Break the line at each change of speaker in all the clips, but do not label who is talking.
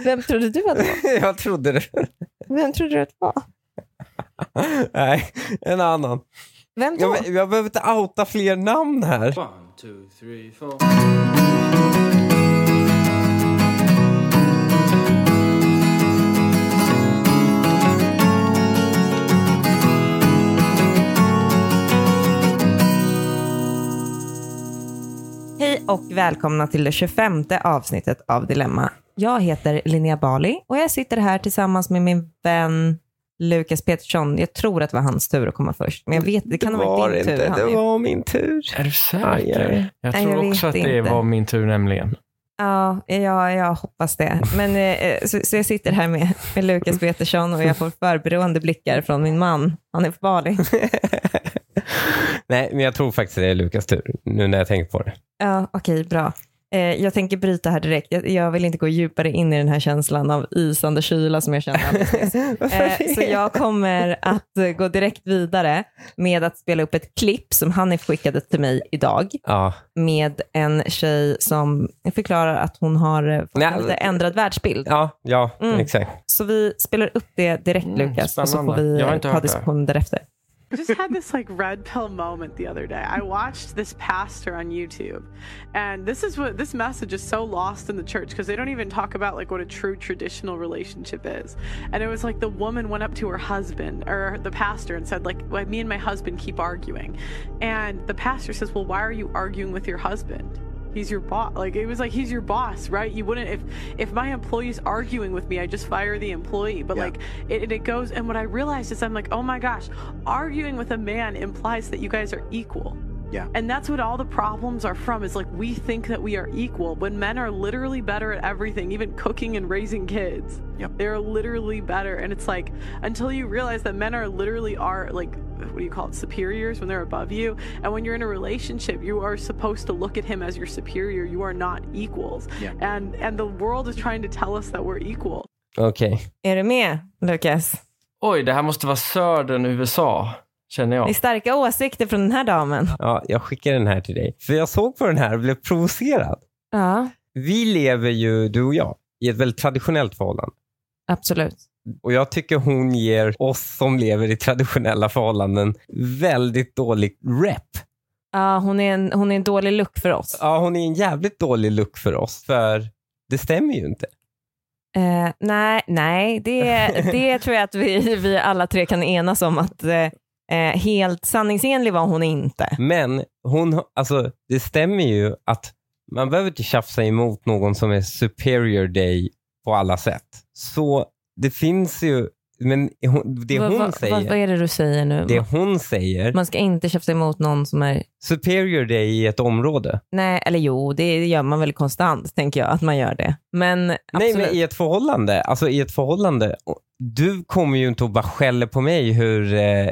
Vem trodde du att det var?
Jag trodde det.
Vem trodde du att det var?
Nej, en annan.
Vem då?
Jag, jag behöver inte outa fler namn här.
One, two, three, four.
Hej och välkomna till det 25 avsnittet av Dilemma. Jag heter Linnea Bali och jag sitter här tillsammans med min vän Lukas Petersson. Jag tror att det var hans tur att komma först, men jag vet, det kan ha varit din tur.
inte.
Han
Det
är-
var min tur.
Är du
Aj,
säker?
aj.
Jag
Nej,
tror
jag
också att
vet
det
inte.
var min tur nämligen.
Ja, ja, jag hoppas det. Men, eh, så, så jag sitter här med, med Lukas Petersson och jag får förberoende blickar från min man. Han är på Bali.
Nej, men jag tror faktiskt det är Lukas tur, nu när jag tänker på det.
Ja, okej, bra. Eh, jag tänker bryta här direkt. Jag, jag vill inte gå djupare in i den här känslan av isande kyla som jag känner alldeles nyss. Eh, så jag kommer att eh, gå direkt vidare med att spela upp ett klipp som Hanif skickade till mig idag
Ja.
med en tjej som förklarar att hon har eh, fått
Nej.
en lite ändrad världsbild.
Ja, ja
Mm.
exakt.
Så vi spelar upp det direkt
Mm,
Lukas och så får
spännande.
vi
Jag har
eh,
inte
ta
hört det.
diskussionen därefter.
I just had this like red pill moment the other day. I watched this pastor on YouTube, and this is what this message is so lost in the church because they don't even talk about like what a true traditional relationship is. And it was like the woman went up to her husband or the pastor and said like, "Well, "Me and my husband keep arguing," and the pastor says, "Well, why are you arguing with your husband?" He's your boss. Like it was like he's your boss, right? You wouldn't if if my employee's arguing with me, I just fire the employee. But like it, and it goes. And what I realized is I'm like, oh my gosh, arguing with a man implies that you guys are equal.
Yeah.
And that's what all the problems are from is like we think that we are equal when men are literally better at everything, even cooking and raising kids.
Yep.
They're literally better. And it's like until you realize that men are literally are like what do you call it superiors when they're above you and when you're in a relationship you are supposed to look at him as your superior you are not equals
Yeah.
and and the world is trying to tell us that we're equal
Okej.
Är du med Lukas?
Oj, det här måste vara södern USA, känner
Det är
jag.
starka åsikter från den här damen.
Ja, jag skickar den här till dig. För jag såg på den här och blev provocerad.
Ja,
Vi lever ju, du och jag, i ett väldigt traditionellt förhållande.
absolut.
Och jag tycker hon ger oss som lever i traditionella förhållanden väldigt dålig rep.
Ja, hon, är en, hon är en dålig look för oss.
Ja, hon är en jävligt dålig look för oss, för det stämmer ju inte.
Eh, nej, nej det, det tror jag att vi, vi alla tre kan enas om att eh, eh, helt sanningsenlig var hon inte.
Men hon, alltså, det stämmer ju att man behöver inte tjafsa emot någon som är superior dig på alla sätt. Så det finns ju, men hon- det
Vad-
hon
vad-
säger,
Vad, vad är det du säger nu?
det hon säger,
Man ska inte tjafsa emot någon som är...
superior dig i ett område.
Nej, eller jo, det gör man väl konstant, tänker jag, att man gör det. Men absolut.
Nej, men i ett förhållande. Alltså i ett förhållande. Du kommer ju inte att bara skälla på mig hur, eh,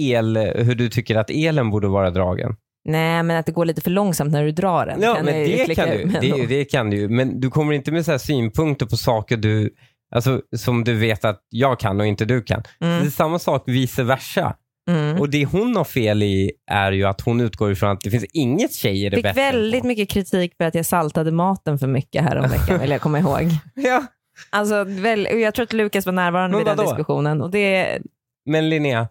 el, hur du tycker att elen borde vara dragen.
nej, men att det går lite för långsamt när du drar den.
Ja,
kan
men
jag ju
det
klicka
kan,
ur
du,
med
det,
ändå.
det kan du ju. Men du kommer inte med så här synpunkter på saker du, alltså, som du vet att jag kan och inte du kan. Det är
Mm,
samma sak vice versa.
mm.
Och det hon har fel i är ju att hon utgår ifrån att det finns inget tjejer är
Fick
bättre än
väldigt
på.
mycket kritik för att jag saltade maten för mycket häromveckan, vill jag komma ihåg.
Ja.
Alltså, väl, jag tror att Lukas var närvarande
Men
vid den
vadå?
diskussionen. Och det,
Men Linnea,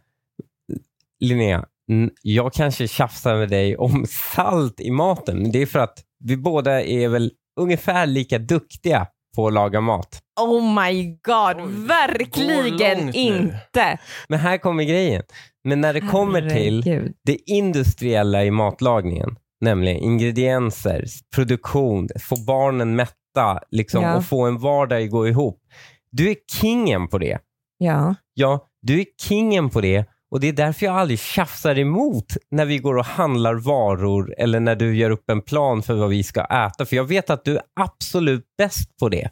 Linnea, n- jag kanske tjafsar med dig om salt i maten. Det är för att vi båda är väl ungefär lika duktiga på att laga mat.
oh my god,
Oj, går
verkligen
långt nu.
inte.
Men här kommer grejen. Men när det kommer till
Herregud.
det industriella i matlagningen, nämligen ingredienser, produktion, få barnen mätta liksom,
Ja.
och få en vardag att gå ihop. Du är kingen på det.
Ja.
Ja, du är kingen på det och det är därför jag aldrig tjafsar emot när vi går och handlar varor eller när du gör upp en plan för vad vi ska äta. För jag vet att du är absolut bäst på det.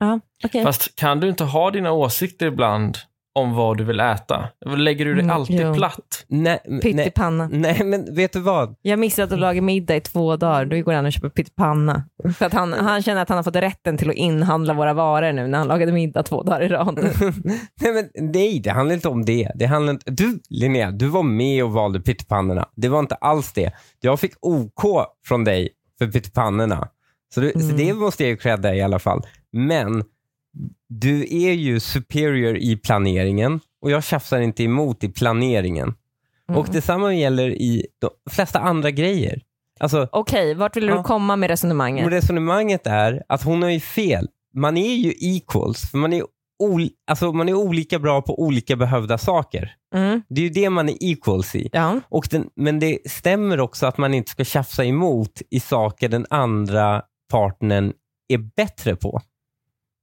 ja okej.
Fast kan du inte ha dina åsikter ibland om vad du vill äta? Lägger du dig
Mm,
alltid
jo.
platt?
Nej, nej,
Pyttipanna.
nej, men vet du vad?
Jag missat att laga middag i två dagar. Då går han och köper pyttipanna. För att han, han känner att han har fått rätten till att inhandla våra varor nu när han lagade middag två dagar i rad.
nej, men, nej, det handlar inte om det. det handlar inte... Du, Linnea, du var med och valde pyttipannorna. Det var inte alls det. Jag fick OK från dig för pyttipannorna. Så, du, så
Mm.
det måste jag ju credda i alla fall. Men du är ju superior i planeringen och jag tjafsar inte emot i planeringen.
Mm.
Och detsamma gäller i de flesta andra grejer. Alltså,
Okej, vart vill du
Ja.
komma med resonemanget?
resonemanget är att hon har ju fel. Man är ju equals, för man är, ol- alltså, man är olika bra på olika behövda saker.
Mm.
Det är ju det man är equals i.
Ja.
Och den, men det stämmer också att man inte ska tjafsa emot i saker den andra partnern är bättre på.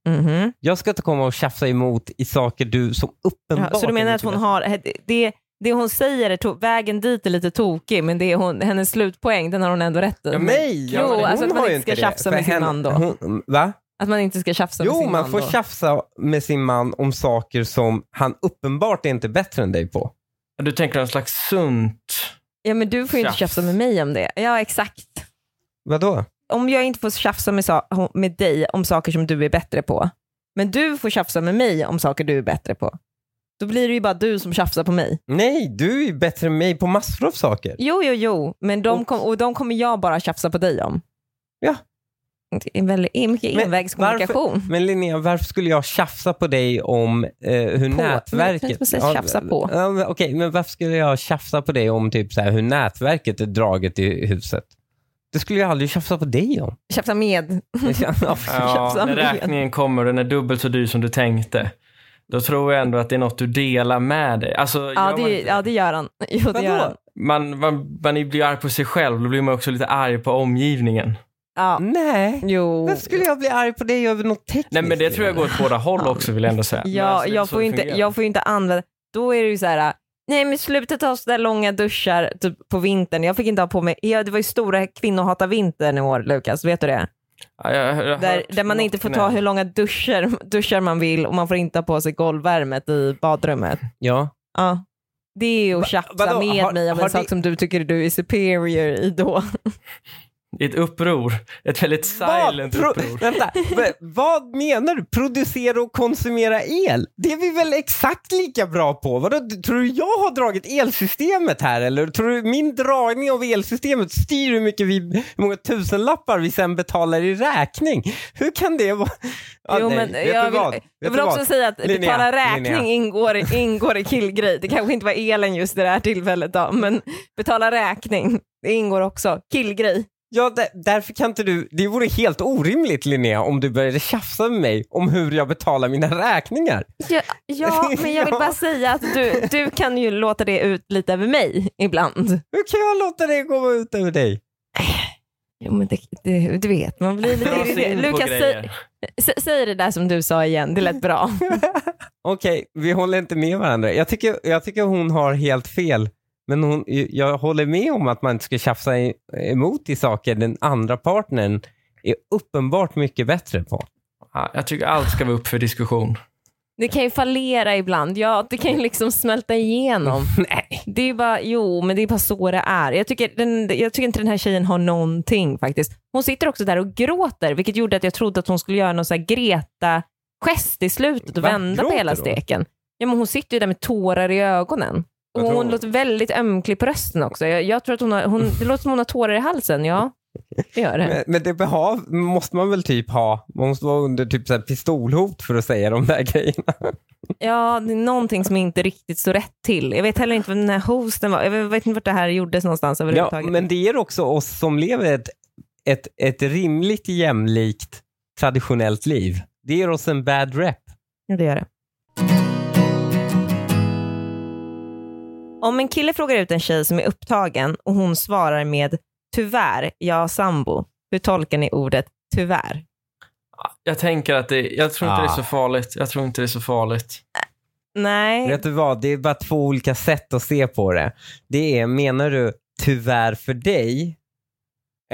Mhm.
Jag ska inte komma och tjafsa emot i saker du som uppenbart...
Ja, så du menar
är
att hon
mycket
har, det, det hon säger, är to- vägen dit är lite tokig, men det är hon, hennes slutpoäng, den har hon ändå rätt i.
bättre. Ja, nej!
Jo,
hon
alltså att man
har ju
inte ska
det,
tjafsa
för
med sin
henne-
man då.
Hon, va?
Att man inte ska tjafsa med
Jo,
sin
man
man
får
då.
tjafsa med sin man om saker som han uppenbart är inte bättre än dig på.
Du tänker en slags sunt...
Ja, men du får ju inte
Tjafs.
tjafsa med mig om det. Ja, exakt.
Vadå?
Om jag inte får tjafsa med, sa- med dig om saker som du är bättre på, men du får tjafsa med mig om saker du är bättre på, då blir det ju bara du som tjafsar på mig.
Nej, du är ju bättre än mig på massor av saker.
Jo, jo, jo, men de kom, och de kommer jag bara tjafsa på dig om.
Ja.
Det är väldigt mycket
Men
invägskommunikation.
Men Linnea, varför skulle jag tjafsa på dig om eh, hur
På. Men
nätverket...
jag tänkte precis tjafsa på.
Ja, men, Okej, men varför skulle jag tjafsa på dig om typ så här, hur nätverket är draget i huset? Det skulle jag aldrig tjafsa på dig om.
Tjafsa med.
Ja,
Ja,
Tjafsa
när
med.
räkningen kommer och den är dubbelt så dyr som du tänkte. Då tror jag ändå att det är något du delar med dig. Alltså,
Ja
gör man,
det,
inte-
ja, det gör han. Jo, det
Vadå?
gör han.
man, man, man blir ju arg på sig själv, då blir man också lite arg på omgivningen.
Ja. Mm.
Nej.
Jo.
Varför skulle jag bli arg på dig över något tekniskt?
Nej men det tror jag går åt båda håll också vill jag ändå säga. Men
Ja,
alltså, det är
jag,
så
får
det
ju inte,
fungerar.
jag får ju inte använda... Då är det ju så här, nej men sluta ta sådär långa duschar typ, på vintern. Jag fick inte ha på mig, ja, det var ju stora kvinnohata-vintern i år Lukas, vet du det?
Ja, jag har hört
Där, där man
något
inte får
knä.
ta hur långa duschar, duschar man vill och man får inte ha på sig golvvärmet i badrummet.
Ja.
Ja. Det är ju att tjafsa
vadå?
med
Har-
mig om
har
en sak
det-
som du tycker du är superior i då.
Det är Ett uppror. Ett väldigt silent
Vad? Pro-
uppror.
Vänta, v- vad menar du? Producera och konsumera el? Det är vi väl exakt lika bra på? Vadå, du- tror du jag har dragit elsystemet här eller? Tror du min dragning av elsystemet styr hur mycket vi, hur många tusenlappar vi sen betalar i räkning? Hur kan det vara? Ja,
jo,
nej,
men
vet du
jag, vill,
vad? Vet
jag
du
vill också
vad?
säga att
Linnea,
betala räkning
Linnea.
ingår, ingår i killgrej. Det kanske inte var elen just det här tillfället då, men betala räkning, det ingår också. Killgrej.
Ja, där- därför kan inte du... Det vore helt orimligt Linnea om du började tjafsa med mig om hur jag betalar mina räkningar.
Ja, ja, men jag vill
Ja.
bara säga att du, du kan ju låta det ut lite över mig ibland.
Hur kan jag låta det gå ut över dig?
Jo, men det, det, du vet, man blir lite
Dra sig in
irriterad.
på
Lukas, säg,
grejer.
sä- säg det där som du sa igen, det lät bra.
Okej, vi håller inte med varandra. Jag tycker, jag tycker hon har helt fel. Men hon, jag håller med om att man inte ska tjafsa i- emot i saker den andra partnern är uppenbart mycket bättre på.
Ja, Jag tycker allt ska vara upp för diskussion.
Det kan ju fallera ibland. Ja, det kan ju liksom smälta igenom.
Nej.
Det är ju bara, jo, men det är bara så det är. Jag tycker, den, jag tycker inte den här tjejen har någonting faktiskt. Hon sitter också där och gråter, vilket gjorde att jag trodde att hon skulle göra någon så här Greta-gest i slutet och
Va?
vända på
Gråter
hela
hon?
steken. Ja, men hon sitter ju där med tårar i ögonen. Och
Jag tror
hon
hon-
låter väldigt ömklig på rösten också. Jag, jag tror att hon har, hon, det låter som hon har tårar i halsen. Ja, det gör det.
Men, men det behav måste man väl typ ha? Man måste vara under typ så här pistolhot för att säga de där grejerna.
Ja, det är någonting som inte riktigt står rätt till. Jag vet heller inte vad den här hosten var. Jag vet inte vart det här gjordes någonstans
Ja,
överhuvudtaget.
men det ger också oss som lever ett, ett, ett rimligt jämlikt traditionellt liv. Det ger oss en bad rep.
Ja, det gör det. Om en kille frågar ut en tjej som är upptagen och hon svarar med tyvärr, jag har sambo. Hur tolkar ni ordet tyvärr?
Jag tänker att det, jag tror inte det är
Ah.
så farligt. Jag tror inte det är så farligt.
Nej,
Vet du vad, det är bara två olika sätt att se på det. Det är, menar du tyvärr för dig?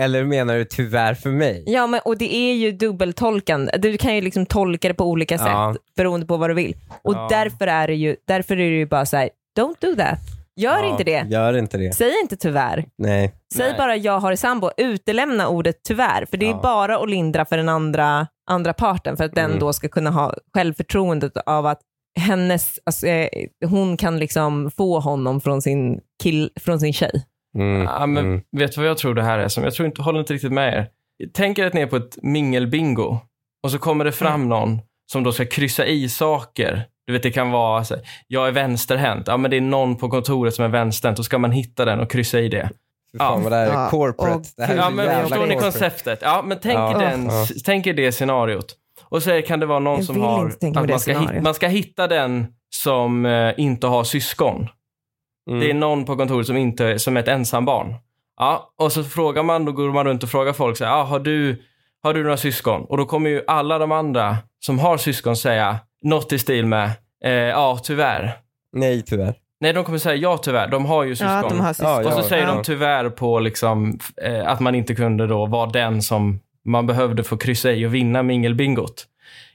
Eller menar du tyvärr för mig?
ja, men, och det är ju dubbeltolkande. Du kan ju liksom tolka det på olika sätt
Ja.
beroende på vad du vill. Och
Ja.
därför, är det ju, därför är det ju bara så här, don't do that. Gör
Ja.
inte det.
Gör inte det.
Säg inte tyvärr.
Nej.
Säg
Nej.
bara jag har sambo, utelämna ordet tyvärr, för det är
Ja.
bara att lindra för den andra, andra parten, för att den
Mm.
då ska kunna ha självförtroendet av att hennes, alltså, eh, hon kan liksom få honom från sin, kill, från sin tjej.
Mm.
Ja, Ah, men
Mm.
Vet du vad jag tror det här är som? Jag tror
Mm.
inte, håller inte riktigt med er. Tänk er att ni är på ett mingelbingo och så kommer det fram någon som då ska kryssa i saker. Du vet, det kan vara, alltså, jag är vänsterhänt. Ja, men det är någon på kontoret som är vänsterhänt. Då ska man hitta den och kryssa i det.
Fy fan
Ja.
vad det här är
Ja.
corporate.
Åh,
det här är
Ja,
så
men
jävla
förstår ni
corporate.
konceptet? Ja, men tänk,
Ja.
den,
Ja.
tänk er det scenariot. Och så kan det vara någon
Jag
som
vill
har...
inte tänka
att
mig det
man, ska hitta,
scenariot.
man ska hitta den som eh, inte har syskon.
Mm.
Det är någon på kontoret som, inte, som är ett ensambarn. Ja, och så frågar man, då går man runt och frågar folk så här, ah, har, du, har du några syskon? Och då kommer ju alla de andra som har syskon säga något i stil med, eh, ja tyvärr.
Nej, tyvärr.
Nej, de kommer säga ja tyvärr, de har ju syskon.
Ja, att de har syskon.
Ja,
Och så
ja.
säger
Ja.
de tyvärr på liksom, f- eh, att man inte kunde då vara den som man behövde för att kryssa i och vinna mingelbingot.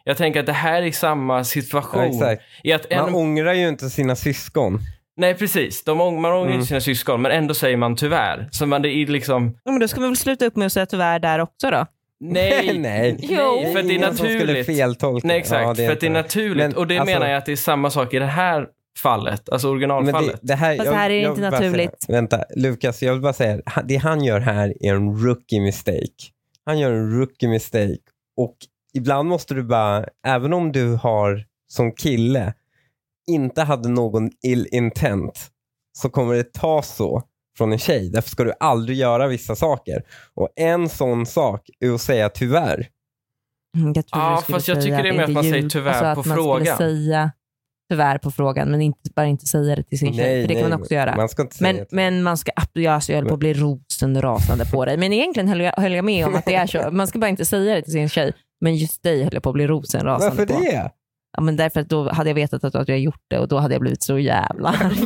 Jag tänker att det här är samma situation.
Ja, exakt.
I att en,
Man ångrar ju inte sina syskon.
Nej, precis. De, ång- man ångrar
Mm.
inte sina syskon, men ändå säger man tyvärr. Så man, det är liksom,
Ja, men då ska man väl sluta upp med att säga tyvärr där också då.
nej.
Nej.
Jo.
för att det är
ingen som skulle
naturligt.
feltolka.
Nej, exakt.
Ja,
för att det är
inte-
naturligt.
Men,
och det
alltså-
menar jag att det är samma sak i det här fallet, alltså
Men
originalfallet.
det, det här,
Fast här är det inte
vill bara
naturligt.
Säga, vänta, Lukas, jag vill bara säga, han- det han gör här är en rookie mistake. Han gör en rookie mistake. Och ibland måste du bara, även om du har som kille inte hade någon ill intent, så kommer det ta så från en tjej. Därför ska du aldrig göra vissa saker. Och en sån sak är att säga tyvärr.
Mm, Jag tror
Ja,
du skulle
fast jag
säga
tycker det är mer att
inte
man säger
ljug-
tyvärr
alltså
på
att man
frågan.
Skulle säga tyvärr på frågan, men inte, bara inte säga det till sin tjej. För det kan man också göra.
Man ska inte säga
men,
tyvärr.
men man ska, ab- ja, alltså jag höll på att bli rosenrasande på dig. Men egentligen höll jag, höll jag med om att det är så. Man ska bara inte säga det till sin tjej. Men just dig höll jag på att bli rosenrasande
Varför
på.
det?
Ja, men därför att då hade jag vetat att du hade gjort det och då hade jag blivit så jävla arg.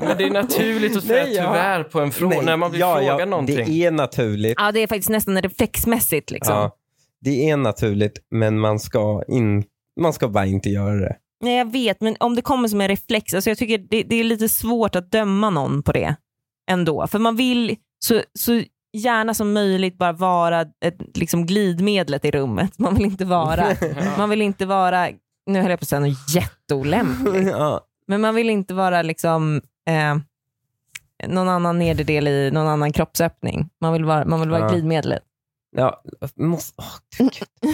Men det är naturligt att säga
Nej, jag-
tyvärr på en fråga,
Nej,
när man blir
ja, ja,
frågad någonting.
Det är naturligt.
Ja, det är faktiskt nästan reflexmässigt. Liksom.
Ja, det är naturligt, men man ska, in, man ska bara inte göra det.
Nej, jag vet, men om det kommer som en reflex, alltså jag tycker det, det är lite svårt att döma någon på det ändå. För man vill så, så gärna som möjligt bara vara ett, liksom glidmedlet i rummet. Man vill inte vara, man vill inte vara, nu höll jag på att säga något jätteolämpligt,
ja.
men man vill inte vara liksom eh, någon annan nederdel i någon annan kroppsöppning. Man vill vara, man vill vara
Ja.
glidmedlet.
Ja, måste, åh, gud.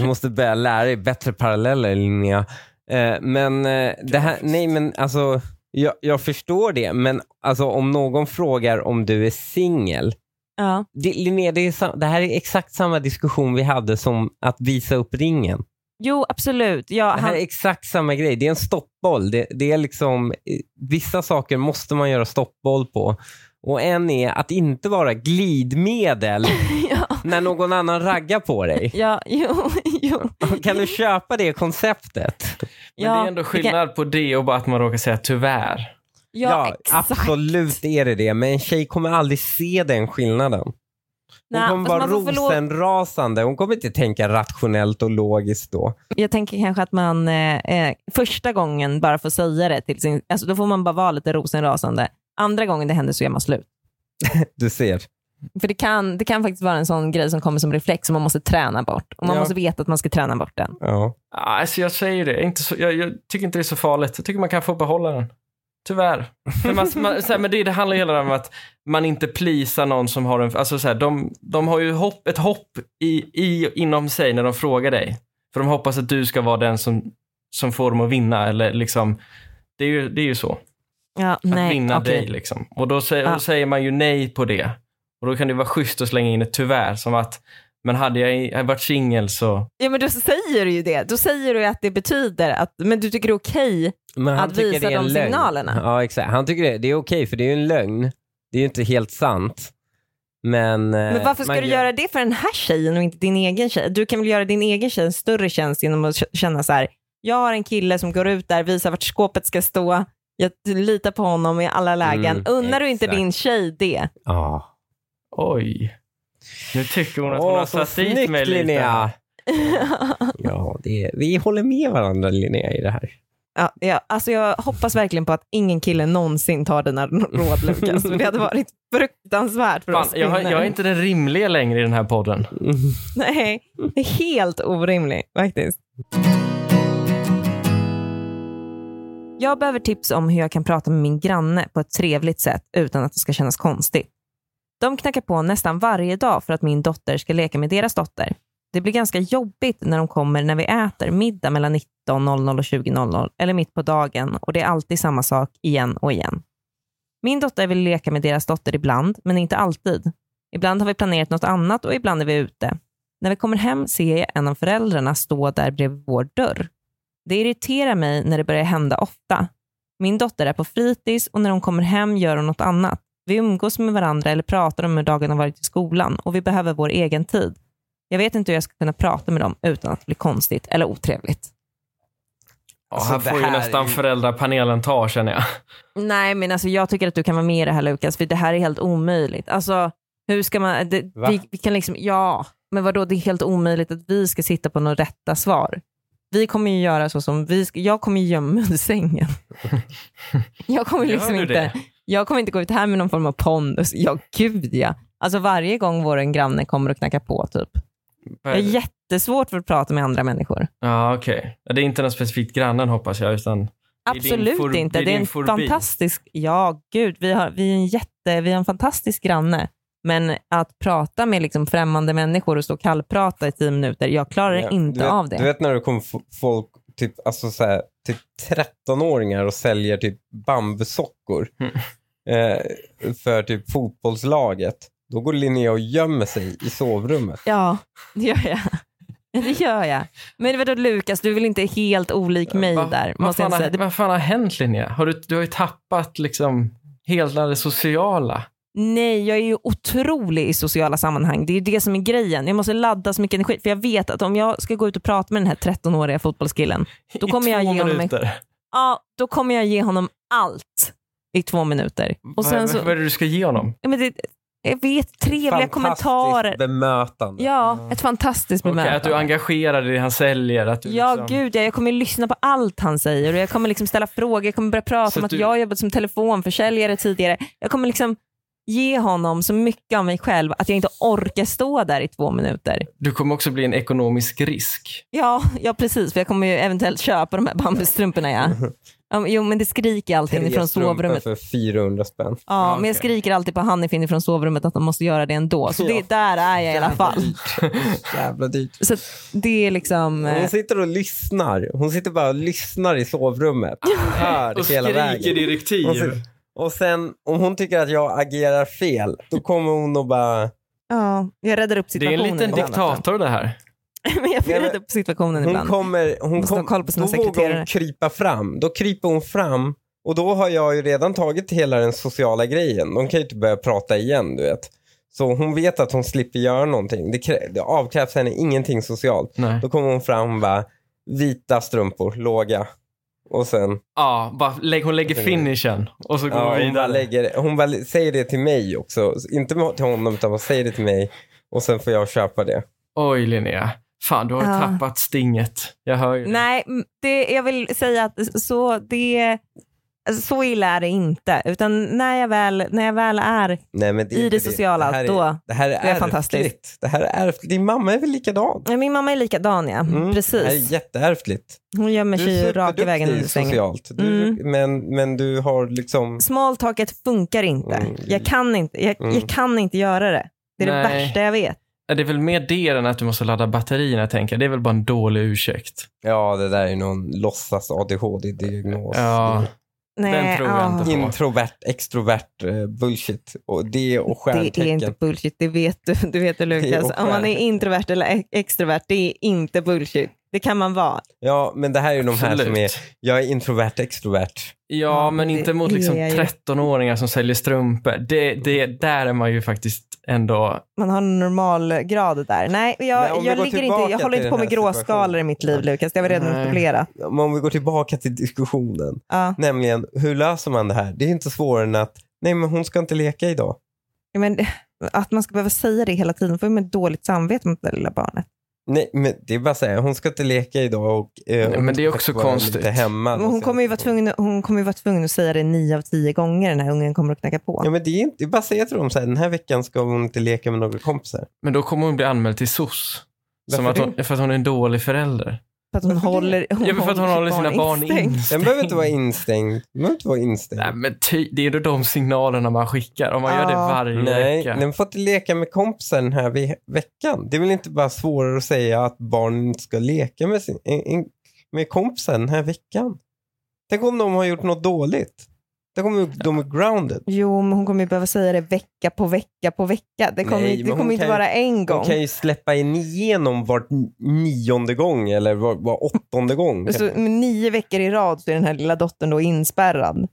Vi måste börja lära dig bättre paralleller, Linnea. Eh, men eh, det här, nej men alltså, jag, jag förstår det, men alltså om någon frågar om du är singel,
ja.
det, Linnea, det, är, sa- det här är exakt samma diskussion vi hade som att visa upp ringen.
Jo, absolut. Ja,
Det här
han,
är exakt samma grej. Det är en stoppboll. Det, det är liksom, eh, vissa saker måste man göra stoppboll på. Och en är att inte vara glidmedel
ja,
när någon annan raggar på dig.
ja, jo, jo.
Kan du köpa det konceptet?
Men det är ändå
kan-
skillnad på det och bara att man råkar säga tyvärr.
Ja, exakt.
absolut är det det. Men en tjej kommer aldrig se den skillnaden. Hon
Nej,
kommer
fast
vara
man får förlåt-
rosenrasande. Hon kommer inte tänka rationellt och logiskt då.
Jag tänker kanske att man eh, eh, första gången bara får säga det till sin, alltså då får man bara vara lite rosenrasande. Andra gången det händer så gör man slut.
Du ser.
För det kan, det kan faktiskt vara en sån grej som kommer som reflex som man måste träna bort. Och man
Ja.
måste veta att man ska träna bort den.
Ja.
Ja, Alltså jag säger det, inte så, jag, jag tycker inte det är så farligt. Jag tycker man kan få behålla den. Tyvärr. För man, man, så här, men det, det handlar ju hela tiden om att man inte plisar någon som har en... Alltså så här, de, de har ju hopp, ett hopp i, i, inom sig när de frågar dig. För de hoppas att du ska vara den som, som får dem att vinna. Eller liksom, det, är ju, det är ju så.
Ja,
Att
nej,
vinna
okej.
dig liksom. Och då, säger,
Ja.
då säger man ju nej på det. Och då kan det vara schysst att slänga in ett tyvärr. Som att, men hade jag, jag varit singel så...
Ja, men då säger du ju det. Då säger du att det betyder att, men du tycker det är okej.
Men han
Att
tycker
visa
det är en
de
lögn.
signalerna.
Ja, exakt. Han tycker det, det är okej, för det är ju en lögn. Det är ju inte helt sant. Men, eh,
Men varför ska du göra det för den här tjejen och inte din egen tjej? Du kan väl göra din egen tjej en större tjänst genom att k- känna så här, jag har en kille som går ut där, visar vart skåpet ska stå, jag litar på honom i alla lägen.
Mm,
Unnar du inte
exakt.
din tjej det?
Ja.
Oj. Nu tycker hon att hon
Åh,
har
så
satt dit
snyggt
mig lite.
Linnea! ja, det, vi håller med varandra Linnea i det här.
Ja, ja, alltså jag hoppas verkligen på att ingen kille någonsin tar dina råd Lukas, för det hade varit fruktansvärt för
Fan,
oss
jag, har- jag är inte den rimliga längre i den här podden.
Nej, det är helt orimligt faktiskt. Jag behöver tips om hur jag kan prata med min granne på ett trevligt sätt utan att det ska kännas konstigt. De knackar på nästan varje dag för att min dotter ska leka med deras dotter. Det blir ganska jobbigt när de kommer när vi äter middag mellan 19.00 och 20.00 eller mitt på dagen och det är alltid samma sak igen och igen. Min dotter vill leka med deras dotter ibland, men inte alltid. Ibland har vi planerat något annat och ibland är vi ute. När vi kommer hem ser jag en av föräldrarna stå där bredvid vår dörr. Det irriterar mig när det börjar hända ofta. Min dotter är på fritids och när hon kommer hem gör hon något annat. Vi umgås med varandra eller pratar om hur dagen har varit i skolan och vi behöver vår egen tid. Jag vet inte hur jag ska kunna prata med dem utan att det blir konstigt eller otrevligt.
Alltså,
här
det
får ju
här
nästan
är-
föräldrapanelen ta känner jag.
Nej, men alltså, jag tycker att du kan vara med i det här Lukas, för det här är helt omöjligt. Alltså, hur ska man... Det,
Va?
vi, vi kan liksom, ja, men vadå, det är helt omöjligt att vi ska sitta på några rätta svar. Vi kommer ju göra så som vi... Ska, jag kommer ju gömma mig under sängen. jag kommer
Gör
liksom
du
inte...
det?
Jag kommer inte gå ut här med någon form av pondus. Ja, gud ja. Alltså varje gång vår granne kommer och knackar på typ. Jag är jättesvårt för att prata med andra människor.
Ja, okej. Det är inte någon specifikt grannen hoppas jag, utan är din
Absolut
for-
inte.
det är
Det är
din
en
fobi.
fantastisk... Ja, gud. Vi, har, vi, är en jätte, vi har en fantastisk granne. Men att prata med liksom främmande människor och stå och kallprata i tio minuter, jag klarar
Ja,
inte
du vet,
av det.
Du vet när det kommer f- folk, typ, alltså så här, typ 13-åringar och säljer typ bambusockor
Mm.
eh, för typ fotbollslaget. Då går Linnea och gömmer sig i sovrummet.
Ja, det gör jag. Det gör jag. Men vadå Lukas, du är väl inte helt olik mig
Va-
där?
Vad
Måste jag
fan,
inte säga.
har,
Det,
vad fan har hänt Linnea? Har du, du har ju tappat liksom hela det sociala.
nej, jag är ju otrolig i sociala sammanhang. Det är ju det som är grejen. Jag måste ladda så mycket energi. För jag vet att om jag ska gå ut och prata med den här 13-åriga fotbollskillen, Då kommer
I
jag
två
ge honom en-
minuter.
ja, då kommer jag ge honom allt i två minuter. Och sen
vad,
så,
vad är det du ska ge honom?
ja, men det, jag vet, trevliga
Fantastiskt
kommentarer.
bemötande.
Ja, ett fantastiskt
Okej, att du är
bemötande.
engagerad i det han säljer. Att du
Ja,
liksom...
gud ja, jag kommer lyssna på allt han säger och jag kommer liksom ställa frågor. Jag kommer börja prata
Så
om att
du-
jag har jobbat som telefonförsäljare tidigare. Jag kommer liksom ge honom så mycket av mig själv att jag inte orkar stå där i två minuter.
Du kommer också bli en ekonomisk risk.
Ja, ja precis, för jag kommer ju eventuellt köpa de här bambustrumporna. Ja. Ja, men- Jo, men det skriker alltid
Tre
inifrån
strumpor
sovrummet.
för 400 spänn.
Ja,
Ja,
men jag
okej.
skriker alltid på Hanif inifrån sovrummet att de måste göra det ändå. Så det, där är jag i alla fall.
Jävla dyrt.
Så att det är liksom... eh,
Hon sitter och lyssnar. Hon sitter bara och lyssnar i sovrummet. Hör
Och
hela
skriker
vägen.
direktiv.
Och så- Och sen om hon tycker att jag agerar fel, då kommer hon och bara...
Ja, jag räddar upp
Det är
situationen.
en liten
ibland,
diktator det här.
alltså. men jag
Nej, men-
räddar upp situationen
Hon
ibland.
kommer... Hon
Måste
kom,
ha koll på sina
då vågar hon
sekreterare.
krypa fram. Då kryper hon fram och då har jag ju redan tagit hela den sociala grejen. De kan ju inte börja prata igen, du vet. Så hon vet att hon slipper göra någonting. Det, krä- det avkrävs henne ingenting socialt.
Nej.
Då kommer hon fram och bara, vita strumpor, låga. Och sen,
Ja, bara lägg, hon lägger finishen och så går
ja,
hon
hon, bara
vidare.
lägger, hon bara säger det till mig också. Inte till honom, utan hon säger det till mig. Och sen får jag köpa det.
Oj Linnea, fan du har
Ja.
tappat stinget. Jag hör ju det.
Nej, m- det, jag vill säga att så, det, alltså, så illa är det inte. Utan när jag väl, när jag väl är...
Nej, men det är
I
inte
det sociala,
här är,
då-
Det här
är
är,
fantastiskt.
ärftligt. Det här är ärftligt. Din mamma är väl likadan?
Nej, Min mamma är likadan, ja.
Mm, Det här är
Precis.
jätteärftligt.
Hon gömmer
Du
sig
är
ju raka vägen under
superduktig
sängen.
socialt. Du,
Mm.
men, men du har liksom...
Small talket funkar inte.
Mm.
Jag, kan inte jag,
Mm.
jag kan inte göra det. Det är det
Nej.
värsta jag vet.
Ja, Det är väl mer det än att du måste ladda batterierna tänker jag. Det är väl bara en dålig ursäkt.
Ja, det där är någon låtsas ADHD-diagnos.
Ja,
Nej,
den tror jag
ah.
inte på.
Introvert, extrovert eh, bullshit. Och det och
Det är
stjärntecken.
inte bullshit, det vet du, du vet det, Lukas.
och
Om man är
stjärnor.
introvert eller e- extrovert, det är inte bullshit. Det kan man vara.
Ja, men det här är ju de här som är,
Absolut.
jag är introvert, extrovert.
Ja, men
det
inte mot
är
liksom
jag ju.
13-åringar som säljer strumpor. Det, det, där är man ju faktiskt ändå...
Man har en normal grad där. Nej,
Men
jag,
om vi
jag,
går
ligger
tillbaka
inte, jag
till
håller inte
den
på
här
med gråskalor
situationen.
i mitt liv, Lukas. Det har vi redan
Nej.
etablerat.
Men om vi går tillbaka till diskussionen,
Ja.
nämligen hur löser man det här? Det är inte svårare än att, nej men hon ska inte leka idag.
Ja, Men, att man ska behöva säga det hela tiden, får ju med dåligt samvete mot det där lilla barnet.
Nej, men det är bara att säga, hon ska inte leka idag och eh,
Nej,
hon
men det är
ska
också
vara
konstigt.
Lite hemma.
Men hon kommer ju vara tvungen, hon kommer ju vara tvungen att säga det nio av tio gånger när den här ungen kommer att knacka på.
Ja, men det är, inte, det är bara att säga till dem så här, den här veckan ska hon inte leka med några kompisar.
Men då kommer hon bli anmäld till SOS. Som
Varför
att hon, för att hon är en dålig förälder.
För att hon
Varför det?
håller, hon
Ja, men för att hon håller sina barn
instängt.
instängda.
Den behöver inte vara instängd. Den behöver inte vara instängd.
Nej, men ty, det är ju de signalerna man skickar om man gör det
Ja.
varje
Nej,
vecka.
den får inte leka med kompisen den här ve- veckan. Det är väl inte bara svårare att säga att barnen inte ska leka med, sin, en- en- med kompisen den här veckan. Tänk om de har gjort något dåligt. Tänk om de är grounded.
Jo, men hon kommer ju behöva säga det vecka på vecka på vecka. Det kommer,
Nej,
det
men hon
kommer inte
kan ju-
vara en gång.
De kan ju släppa in igenom vart n- nionde gång eller var, var åttonde gång.
Så, men nio veckor i rad så är den här lilla dottern då inspärrad.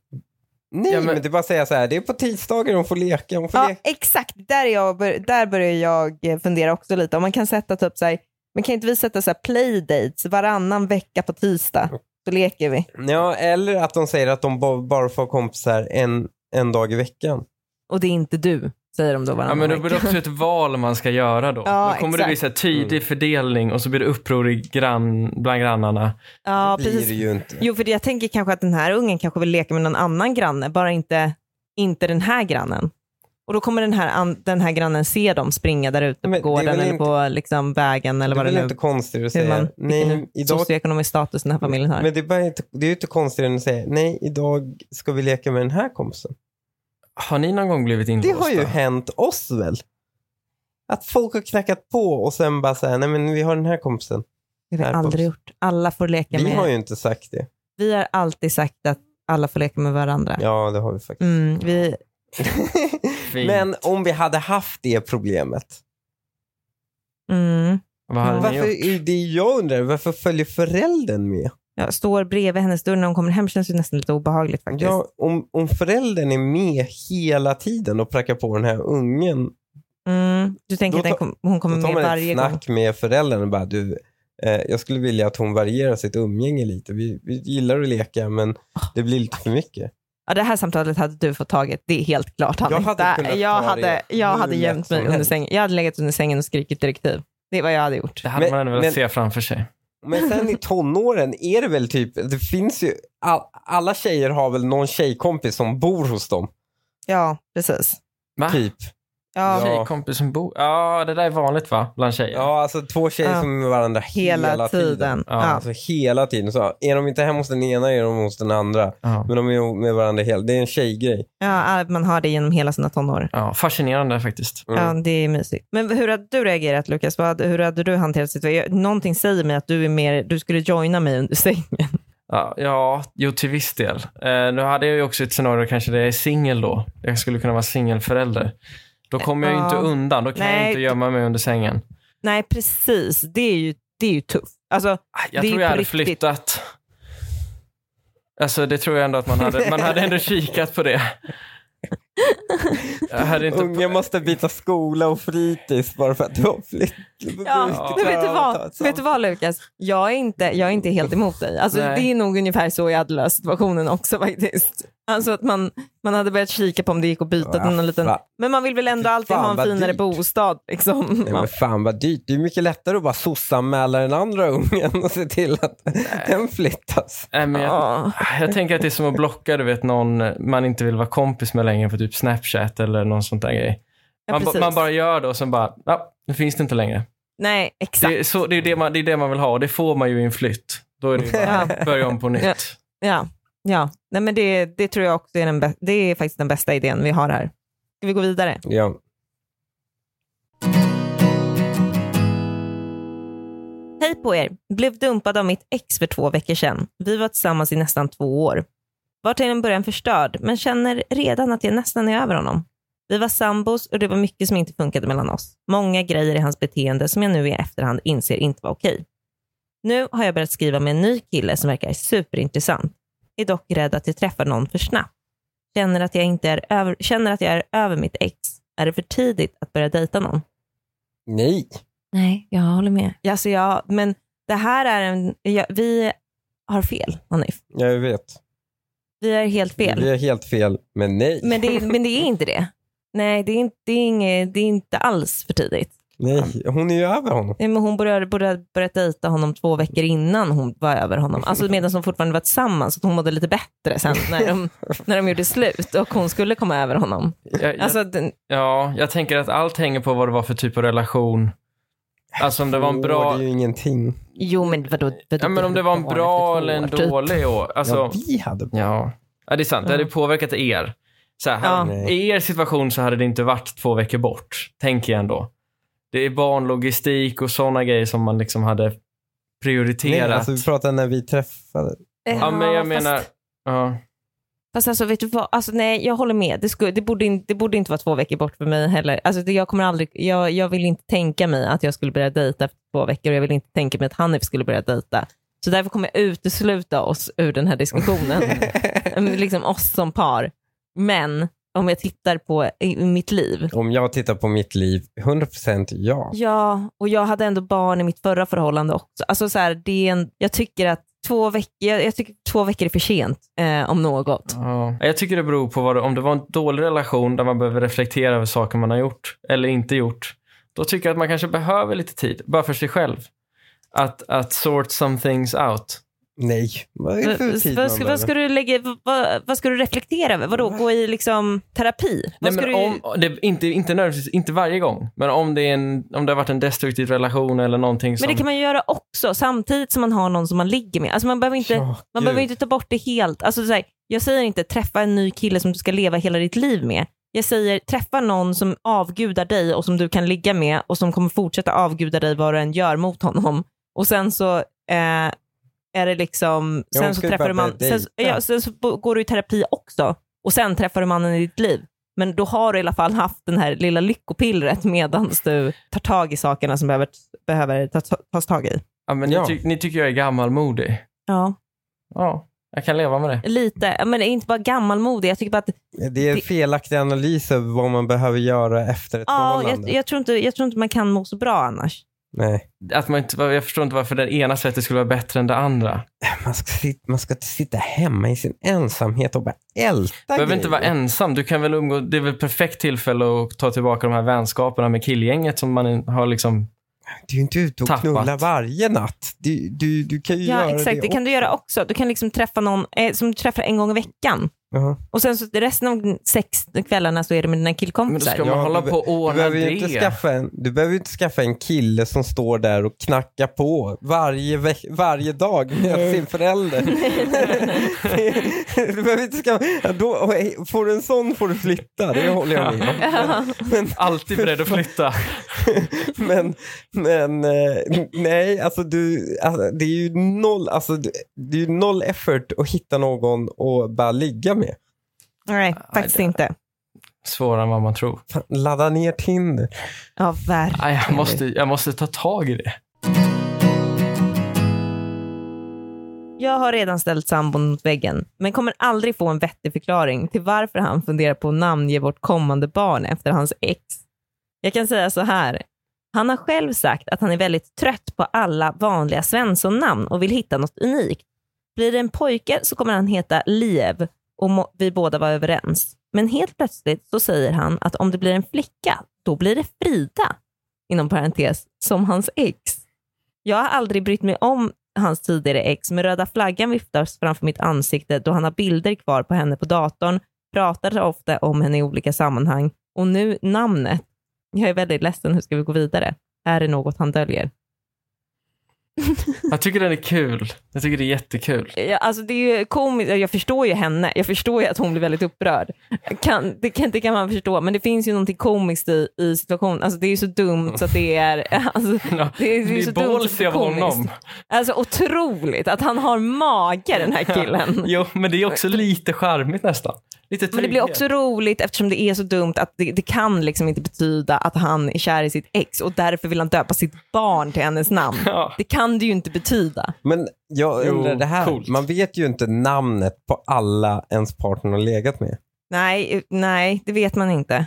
Nej,
Ja, men-
men... det är bara att säga så här. Det är på tisdagar de får leka. De får
Ja,
leka.
exakt. Där, är jag, bör- där börjar jag eh, fundera också lite. Om man kan sätta typ så här, men kan inte vi sätta så här playdates varannan vecka på tisdag? Så leker vi.
Ja, eller att de säger att de ba- bara får kompisar en, en dag i veckan.
Och det är inte du, säger de då
Ja,
varannan
men då
vecka.
blir det också ett val man ska göra då.
Ja,
då kommer det bli
exakt.
så här
Mm.
tidig fördelning och så blir det uppror i grann, bland grannarna.
Ja,
det blir det
precis.
ju inte.
Jo, för jag tänker kanske att den här ungen kanske vill leka med någon annan granne, bara inte, inte den här grannen. Och då kommer den här, an- den här grannen se dem springa där ute
Men det
på
är
gården
väl
eller
inte-
på liksom vägen eller
det
vad
är
det
väl
nu
inte konstigt att
hur
säga
man,
nej,
vilken
idag,
socioekonomisk status den här familjen har.
men det är, bara inte, det är ju inte konstigt än att säga nej, idag ska vi leka med den här kompisen.
Har ni någon gång blivit
Det
inlåsta?
har ju hänt oss väl? Att folk har knackat på och sen bara säga nej men vi har den här kompisen.
det har vi
här på-
aldrig gjort. Alla får leka
Vi
med...
har ju inte sagt det.
Vi har alltid sagt att alla får leka med varandra.
Ja, det har vi faktiskt.
Mm, vi...
Fint.
men om vi hade haft det problemet.
Mm.
Vad hade ni gjort?
Varför, det är jag undrar, varför följer föräldern med?
Jag står bredvid hennes dörr när hon kommer hem känns det nästan lite obehagligt faktiskt.
Ja, om, om föräldern är med hela tiden och prackar på den här ungen
Mm. Du tänker
Då
att den
tar-
kom, hon kommer
Då tar
med
man
varje
ett
gång?
snack med föräldern och bara du, eh, jag skulle vilja att hon varierar sitt umgänge lite. Vi, vi gillar att leka men det blir lite för mycket.
Ja, det här samtalet hade du fått taget, det är helt klart. Anita.
hade kunnat
jag
ta
hade,
det
jag
hur
hade
lätt
gömt
som
mig under
helst.
sängen. Jag hade legat under sängen och skrikit direktiv. Det är vad jag hade gjort.
Det hade
Men-
man ändå velat
men-
se framför sig.
Men sen i tonåren är det väl typ, det finns ju, all, alla tjejer har väl någon tjejkompis som bor hos dem.
Ja, precis.
Va?
Typ.
Ja,
Ja.
Tjejkompis som bor... Ja, det där är vanligt va? Bland tjejer?
Ja, alltså två tjejer
Ja.
som är med varandra
Hela,
hela,
tiden.
Ja,
Ja.
Alltså hela tiden. Så är de inte hemma hos den ena är de hos den andra.
Ja.
Men de är med varandra hela, det är en tjejgrej.
Ja, man har det genom hela sina tonår.
Ja, fascinerande faktiskt.
Mm.
Ja, det är mysigt. Men hur hade du reagerat Lukas? Vad hade, hur hade du hanterat situationen? Någonting säger mig att du är mer, du skulle joina mig under sängen.
Ja, ja, jo till viss del. Eh, nu hade jag ju också ett scenario kanske där jag är singel då. Jag skulle kunna vara singelförälder. Då kommer jag ju inte
Ja.
undan. Då kan jag
Nej.
ju inte gömma mig under sängen.
Nej, precis. Det är ju, det är ju tufft. Alltså,
Ah, Jag
Det är
tror
ju
jag
på
hade
riktigt.
flyttat. Alltså det tror jag ändå att man hade. Man hade ändå kikat på det. Jag hade inte...
Unga måste byta skola och fritids bara för att du har flytt.
ja, men vet, du vad, vet du vad Lukas? Jag är inte, jag är inte helt emot dig. Alltså,
Nej.
det är nog ungefär så jag hade löst situationen också faktiskt. Alltså att man, man hade börjat kika på om det gick att byta till någon liten...
Va?
Men man vill väl ändå
Fy
alltid
fan,
ha en
vad
finare
dyrt.
bostad. Liksom.
Nej, men fan vad dyrt. Det är mycket lättare att bara sossanmäla den andra ungen och se till att den flyttas.
Nej, men jag,
Ja.
jag tänker att det är som att blocka du vet, någon man inte vill vara kompis med längre på typ Snapchat eller någon sånt där grej.
Ja,
Man, ba-
precis.
man bara gör det och sen bara, ja, nu finns det inte längre.
Nej, exakt.
Det är, så, det, är det, man, det är det man vill ha och det får man ju i en flytt. Då är det ju bara börja om på
Ja.
nytt.
Ja, ja. Nej, men det, det tror jag också är den, bä- det är faktiskt den bästa idén vi har här. Ska vi gå vidare?
Ja.
Hej på er! Blev dumpad av mitt ex för två veckor sedan. Vi var tillsammans i nästan två år. Var till en början förstörd, men känner redan att jag nästan är över honom. Vi var sambos och det var mycket som inte funkade mellan oss. Många grejer i hans beteende som jag nu i efterhand inser inte var okej. Nu har jag börjat skriva med en ny kille som verkar superintressant. Är dock rädd att jag träffar någon för snabbt. Känner att jag, inte är över, känner att jag är över mitt ex. Är det för tidigt att börja dejta någon?
Nej.
Nej, jag håller med. Alltså jag, men det här är en... ja, vi har fel, Hanif.
Jag vet.
Vi har helt fel.
Vi är helt fel, men nej.
Men det, är- men det är inte det. Nej, det är inte, det är inget, det är inte alls för tidigt.
nej. Hon är ju över honom.
Nej, Men hon borde borde börjat dejta honom två veckor innan hon var över honom. Alltså medan de fortfarande var tillsammans. Så att hon mådde lite bättre sen när de, när de gjorde slut och hon skulle komma över honom.
Jag, jag,
Alltså, den,
ja, jag tänker att allt hänger på vad det var för typ av relation Alltså om det var en bra...
Det är ju ingenting.
Jo, men vadå? vadå
Ja, men om det var en
barn efter två
bra eller en
år, typ.
dålig år. Alltså,
ja, vi hade barn.
ja. ja, det är sant. Det hade påverkat er. Så här,
Ja.
Nej.
I er situation så hade det inte varit två veckor bort, tänker jag ändå. Det är barnlogistik och sådana grejer som man liksom hade
Nej,
prioriterat.
alltså, vi pratade när vi träffade.
ja, men jag
fast-
menar... Ja.
Fast alltså, vet du vad? Alltså, nej, jag håller med. Det, skulle, det, borde in, det borde inte vara två veckor bort för mig heller. Alltså, det, jag, kommer aldrig, jag, jag vill inte tänka mig att jag skulle börja dejta efter två veckor och jag vill inte tänka mig att Hanif skulle börja dejta. Så därför kommer jag utesluta oss ur den här diskussionen. Mm, liksom oss som par. Men om jag tittar på i, i mitt liv.
Om jag tittar på mitt liv, 100% ja.
Ja, och jag hade ändå barn i mitt förra förhållande också. Alltså, så här, det är en, jag tycker att två veckor, jag, jag tycker två veckor är för sent eh, om något.
Ja. Jag tycker det beror på vad det, om det var en dålig relation där man behöver reflektera över saker man har gjort eller inte gjort. Då tycker jag att man kanske behöver lite tid, bara för sig själv. Att, att sort some things out.
Nej. Vad är det för
Eh, Vad-
tid
Vad
man
ska,
behöver?
vad, ska du lägga, vad, vad ska du reflektera över? Vadå, gå i liksom terapi?
Nej,
Vad ska
men
du,
om, det, inte, inte nödvändigtvis, inte varje gång, men om det, är en, om det har varit en destruktiv relation eller någonting som...
men det kan man ju göra också, samtidigt som man har någon som man ligger med. Alltså man behöver inte,
Ja,
man
gud.
behöver inte ta bort det helt. Alltså så här, jag säger inte träffa en ny kille som du ska leva hela ditt liv med. Jag säger träffa någon som avgudar dig och som du kan ligga med och som kommer fortsätta avguda dig vad du än gör mot honom. Och sen så eh, är det liksom,
Ja, hon
sen så
ska ju
träffar du
bara
man,
börja
sen, så-
dejta.
ja, sen så bo- går du i terapi också och sen träffar du mannen i ditt liv. Men då har du i alla fall haft den här lilla lyckopillret medan du tar tag i sakerna som behöver, behöver ta, tas tag i.
ja, men
Ja.
ni, ty, ni tycker jag är gammalmodig.
Ja.
Ja, jag kan leva med det.
Lite, Ja, men inte bara gammalmodig. Jag tycker bara att
Det är en felaktig analys av vad man behöver göra efter ett
ja,
förhållande.
jag, jag, tror inte, jag tror inte man kan må så bra annars.
Nej.
Att man inte, jag förstår inte varför det ena sättet skulle vara bättre än det andra.
Man, ska sit, man ska sitta hemma i sin ensamhet och bara älta
Du behöver
grejer.
inte vara ensam. Du kan väl umgå, det är väl ett perfekt tillfälle att ta tillbaka de här vänskaperna med killgänget som man har liksom...
Du är ju inte ute och
Tappat.
knullar varje natt. Du, du, du kan ju
Ja,
göra
exakt. Det kan du göra också. Du kan liksom träffa någon eh, som du träffar en gång i veckan.
Ja.
Och sen så resten av sex kvällarna så är det med dina
Men då
killkompisar.
ska man
Ja,
hålla
du-
på och
Du
ordna
behöver, ju inte
det.
skaffa en, du behöver ju inte skaffa en kille som står där och knackar på varje, veck- varje dag med sin förälder. du behöver inte skaffa... ja, Då, och, hej, får du en sån får du flytta, det håller jag med om.
Ja.
Alltid beredd att flytta.
Men, men eh, nej, alltså, du, alltså det är ju noll, alltså, det det är ju noll effort att hitta någon och bara ligga med.
Nej, faktiskt inte.
Svårare än vad man tror.
Fan, Ladda ner Tinder.
Ja, verkligen.
Nej, jag, måste, jag måste ta tag i det.
Jag har redan ställt sambon mot väggen, men kommer aldrig få en vettig förklaring till varför han funderar på att namnge vårt kommande barn efter hans ex. Jag kan säga så här. Han har själv sagt att han är väldigt trött på alla vanliga Svensson-namn och vill hitta något unikt. Blir det en pojke så kommer han heta Liev och må- vi båda var överens. Men helt plötsligt så säger han att om det blir en flicka, då blir det Frida, inom parentes, som hans ex. Jag har aldrig brytt mig om hans tidigare ex, men röda flaggan viftas framför mitt ansikte då han har bilder kvar på henne på datorn, pratar ofta om henne i olika sammanhang och nu namnet. Jag är väldigt ledsen, hur ska vi gå vidare? Är det något han döljer?
Jag tycker den är kul. Jag tycker det är jättekul.
Ja, alltså det är ju komiskt, jag förstår ju henne, jag förstår ju att hon blir väldigt upprörd. Kan, det, kan, det kan man förstå, men det finns ju någonting komiskt i, i situationen. Alltså det är ju så dumt så att det är... Alltså,
Ja,
det är, det är
Det
så
är
dumt så
ballsy
det
av
är komiskt.
honom.
Alltså otroligt att han har mage den här killen.
Jo, men det är också lite charmigt nästan. Lite
Men det blir
trygghet.
också roligt eftersom det är så dumt att det, det kan liksom inte betyda att han är kär i sitt ex och därför vill han döpa sitt barn till hennes namn.
Ja.
Det kan det ju inte betyda.
Men jag
Jo,
undrar det här.
coolt.
Man vet ju inte namnet på alla ens partner har legat med.
Nej, eh, nej, det vet man inte.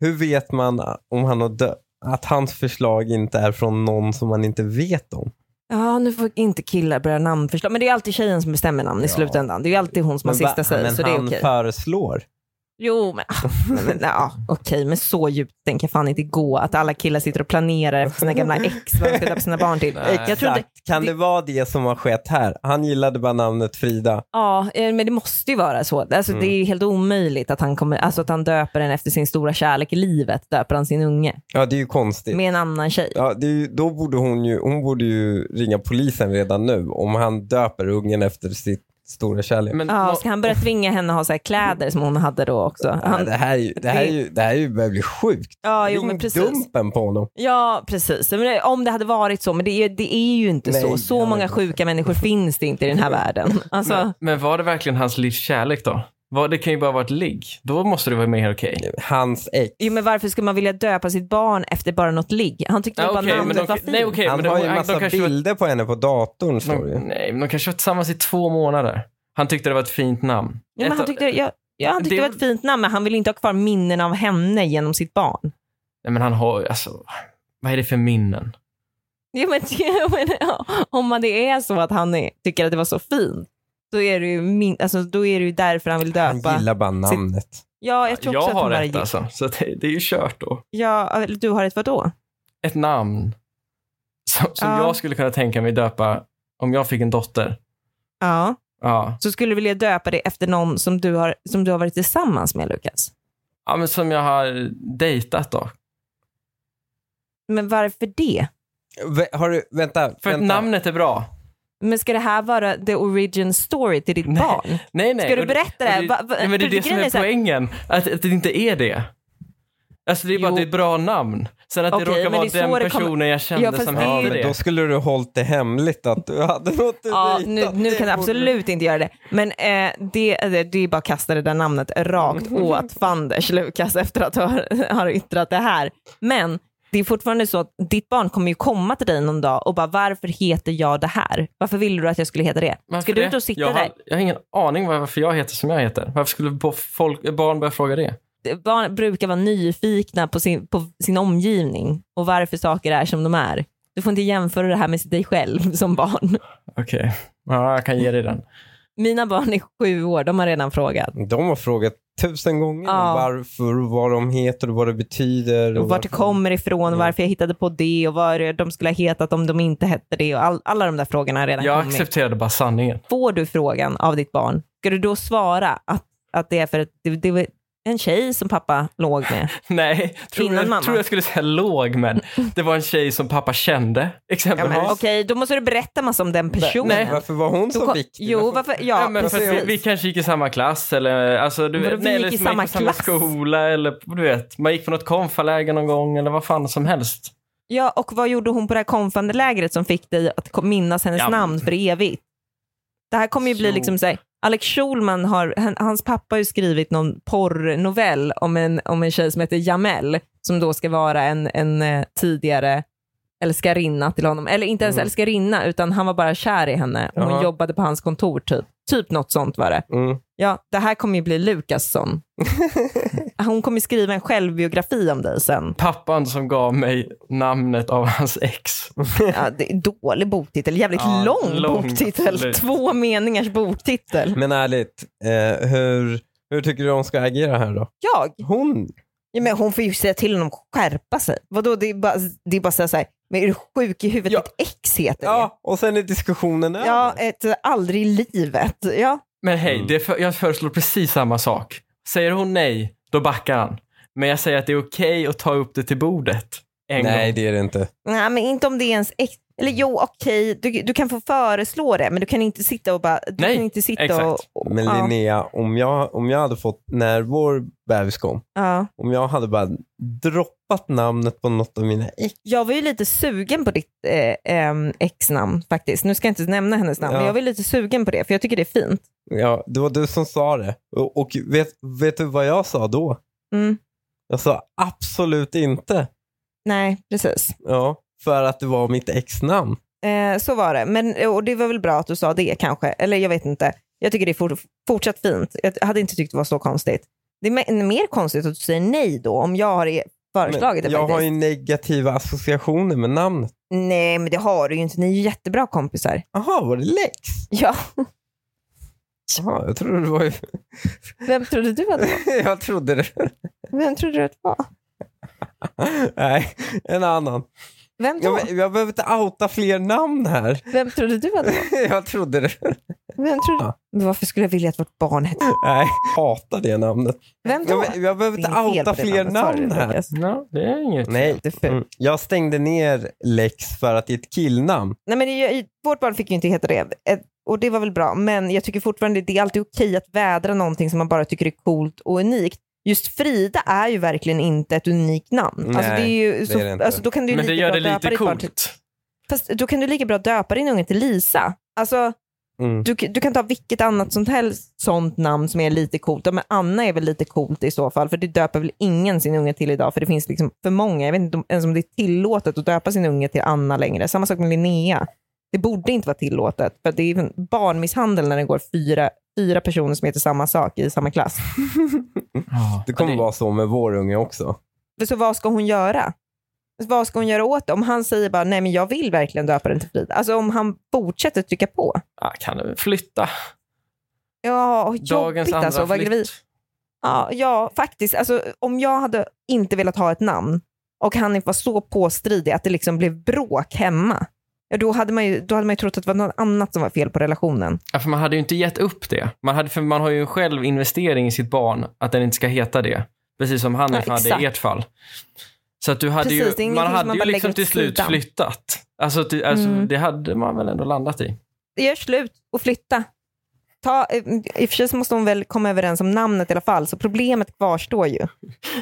Hur vet man om han har dö- att hans förslag inte är från någon som man inte vet om?
Ja, nu får inte killar börja namnförslag. Men det är alltid tjejen som bestämmer namn i slutändan. Det är ju alltid hon som har
Men va-
sista säg,
men
så det är
han
okej.
föreslår.
Jo, men, men, men ja, okej, men så djupt tänker jag fan inte gå att alla killar sitter och planerar efter sina gamla ex vad de ska döpa sina barn till.
Nej.
Jag tror inte,
Exakt. Kan det...
det-
vara det som har skett här? Han gillade bara namnet Frida.
ja, eh, men det måste ju vara så. Alltså, Det är
Mm.
ju helt omöjligt att han, kommer, alltså, att han döper den efter sin stora kärlek i livet, döper han sin unge
Ja, det är ju konstigt.
med en annan tjej.
Ja, det är ju, då borde hon ju, hon borde ju ringa polisen redan nu om han döper ungen efter sitt stora kärlek.
Men
Ja,
nå-
ska han börja tvinga henne att ha så här kläder som hon hade då också?
Nej,
Han,
det här är ju, det här är ju, det här är ju börjar bli sjukt.
ja, jo,
Ring
men precis.
dumpen på honom.
Ja, precis. Men det- om det hade varit så, men det är, det är ju inte
Nej,
så.
det
Så
har
många
inte.
sjuka människor finns det inte i den här världen. Alltså,
men, men var det verkligen hans livs kärlek då? Var, det kan ju bara vara ett ligg. Då måste det vara mer okej.
Hans ex.
Jo men varför skulle man vilja döpa sitt barn efter bara något ligg? Han tyckte
Ja,
väl bara
okej, men
namnet
de-
var fint.
nej, okej, men
han
de-
har ju
de-
en
de
massa
kanske-
bilder på henne på datorn står det
De,
Mm.
ju.
nej, men de kanske har varit tillsammans i två månader. Han tyckte det var ett fint namn.
ja, men han
Ett-
tyckte, ja, ja, han tyckte det
Det-
var ett fint namn men han ville inte ha kvar minnen av henne genom sitt barn.
Nej, men han har ju- alltså, vad är det för minnen?
Ja, men, ja, men, ja, om man det är så att han är, tycker att det var så fint, då är det ju, min, alltså, då är det ju därför han vill
Han
döpa.
gillar bara namnet.
ja, jag tror också att
har
han bara
rätt
gill-
alltså. Så det, det är ju kört då.
ja, Du har ett vadå?
Ett namn som, som
Ja.
jag skulle kunna tänka mig döpa om jag fick en dotter.
Ja,
Ja.
så skulle du vilja döpa det efter någon som du har, som du har varit tillsammans med Lukas.
ja, men som jag har dejtat då.
Men varför det?
Vä- Har du, vänta.
För att
vänta.
namnet är bra.
Men ska det här vara the origin story till ditt
Nej.
barn?
Nej, nej.
Ska du
och det-
berätta det här?
och
Va- va-
nej, men det är
för
det som
grejen
är
är så här-
poängen. Att, att det inte är det. Alltså det är bara
Jo.
att det är ett bra namn. Sen att
Okej,
det råkar
men
vara
det är så
den
det kommer-
personen jag kände
Ja, fast
som
det är
Ja,
ju
hette
men då
det.
skulle du hållit det hemligt att du hade något du
Ja,
dejtat.
nu, nu
Det
kan jag
borde-
absolut inte göra det. Men eh, det, det, det är bara att kasta det där namnet rakt åt Fanders, Lukas, efter att ha har yttrat det här. Men det är fortfarande så att ditt barn kommer ju komma till dig någon dag och bara varför heter jag det här? Varför ville du att jag skulle heta det?
Varför
Ska du
det?
ut och sitta
jag har,
där?
Jag har ingen aning var- varför jag heter som jag heter. Varför skulle bo- folk, barn börja fråga det?
Barn brukar vara nyfikna på sin, på sin omgivning och varför saker är som de är. Du får inte jämföra det här med dig själv som barn.
Okej, ja, jag kan ge dig den.
Mina barn är sju år, de har redan frågat.
De har frågat tusen gånger om
Ja.
varför, och vad de heter och vad det betyder.
och vart det
varför-
kommer ifrån, och varför jag hittade på det och vad det- de skulle ha hetat om de inte hette det. Och all, alla de där frågorna har redan
Jag
kommit.
accepterade bara sanningen.
Får du frågan av ditt barn, ska du då svara att, att det är för att det, det var en tjej som pappa låg med?
Nej, tror
Innan mamma.
jag, tror jag skulle säga låg, men det var en tjej som pappa kände,
Ja, men
exempelvis.
Okej, då måste du berätta massa om den personen.
Nej,
Varför var hon
Då
så
kom-
viktig?
Jo, varför? Ja,
Ja, men för att vi,
precis.
vi kanske gick i samma klass eller, alltså, du,
Vadå,
vet,
vi
nej,
gick
eller
i
man
samma
gick på samma
klass?
skola eller du vet, man gick på något konfaläger någon gång eller vad fan som helst.
ja, och vad gjorde hon på det här konfande lägret som fick dig att kom- minnas hennes
Ja.
namn för evigt? Det här kommer ju bli
Jo.
liksom så här, Alex Schulman har, han, hans pappa har ju skrivit någon porrnovell om en, om en tjej som heter Jamel, som då ska vara en, en eh, tidigare älskarinna till honom. Eller inte ens
Mm.
älskarinna, utan han var bara kär i henne och hon
Jaha.
jobbade på hans kontor typ. Typ något sånt var det.
Mm.
Ja, det här kommer ju bli Lukasson. Hon kommer skriva en självbiografi om dig sen.
Pappan som gav mig namnet av hans ex.
Ja, det är dålig boktitel, jävligt
Ja,
lång,
lång,
boktitel.
absolut.
Två meningars boktitel.
Men ärligt, eh, hur, hur tycker du hon ska agera här då?
Jag?
Hon?
Ja, men hon får ju säga till honom att skärpa sig. Vadå, det är bara, det är bara att säga så här, men är du sjuk i huvudet?
Ja.
Ditt ex heter
Ja, och sen är diskussionen
det.
över.
Ja, ett, eh, aldrig i livet. Ja.
Men hej,
Mm.
det för, jag föreslår precis samma sak. Säger hon nej, då backar han. Men jag säger att det är okej att ta upp det till bordet. En
Nej,
gång.
det är det inte.
Nej, men inte om det är ens ex. Eller jo, okej, du, du kan få föreslå det, men du kan inte sitta och bara... Du
Nej,
kan inte sitta
exakt.
Och, och,
Men
ja,
Linnea, om jag, om jag hade fått, när vår bebis kom,
ja.
om jag hade bara droppat namnet på något av mina ex.
Jag var ju lite sugen på ditt eh, ehm, ex-namn faktiskt. Nu ska jag inte nämna hennes namn,
Ja.
men jag var ju lite sugen på det, för jag tycker det är fint.
Ja, det var du som sa det. Och, och vet, vet du vad jag sa då?
Mm.
Jag sa absolut inte.
Nej, precis.
Ja, för att det var mitt ex-namn.
Eh, så var det. Men, och det var väl bra att du sa det kanske. Eller jag vet inte. Jag tycker det är fort, fortsatt fint. Jag hade inte tyckt det var så konstigt. Det är me- mer konstigt att du säger nej då, om jag har e-
Men
föreslagit det
jag har
faktiskt.
ju negativa associationer med namnet.
Nej, men det har du ju inte. Ni är ju jättebra kompisar.
Jaha, var det Lex?
Ja.
Jaha, jag trodde det var ju...
Vem trodde du att det var?
jag trodde det.
Vem trodde du att det var?
Nej, en annan.
Vem, då?
Jag, jag behöver inte outa fler namn här.
Vem trodde du att det var?
jag trodde det.
Vem trodde...
Ja.
Men varför skulle jag vilja att vårt barn hette...
Nej, hatar det namnet.
Vem då?
Jag, jag behöver
Det
inte
är fel
outa
på det
fler
namnet, sorry,
namn här.
Lukas.
Ja, det är inget.
Nej,
Det är fult.
mm. jag stängde ner Lex för att det är ett killnamn.
Nej, men det, vårt barn fick ju inte heta det. Ett- Och det var väl bra, men jag tycker fortfarande det är alltid okej att vädra någonting som man bara tycker är coolt och unikt. Just Frida är ju verkligen inte ett unikt namn.
Nej,
alltså det är ju så,
det är det inte.
alltså då kan du ju
Men det
lika
gör
bra
det
döpa
lite
ditt barn till-
coolt.
Fast då kan du lika bra döpa din unge till Lisa. Alltså,
Mm.
du, du kan ta vilket annat som helst sånt namn som är lite coolt. Ja, men Anna är väl lite coolt i så fall, för det döper väl ingen sin unge till idag, för det finns liksom för många. Jag vet inte om- ens om det är tillåtet att döpa sin unge till Anna längre. Samma sak med Linnea. Det borde inte vara tillåtet, för det är ju barnmisshandel när det går fyra, fyra personer som heter samma sak i samma klass.
Det kommer vara så med vår unge också.
För Så vad ska hon göra? Vad ska hon göra åt det? Om han säger bara nej, men jag vill verkligen döpa den till Frida. Alltså om han fortsätter trycka på.
Ja, kan du flytta?
Ja, och
Dagens
jobbigt
andra
alltså att vara
flytt.
gravid. Ja, ja, faktiskt. Alltså, om jag hade inte velat ha ett namn och han var så påstridig att det liksom blev bråk hemma, ja, då, hade man ju, då hade man ju trott att det var något annat som var fel på relationen.
Ja, för man hade ju inte gett upp det. Man, hade, för man har ju en självinvestering i sitt barn att den inte ska heta det. Precis som Hanif
Ja,
hade
exakt.
i ert fall. Så att du hade
Precis, det är
ju,
ingenting
man
som
hade
man
ju
bara lägger
liksom
åt
till slut
sidan.
flyttat. Alltså, ty, alltså
Mm.
det hade man väl ändå landat i.
Gör slut och flytta. Ta, eh, I och för sig så måste de väl komma överens om namnet i alla fall, så problemet kvarstår ju.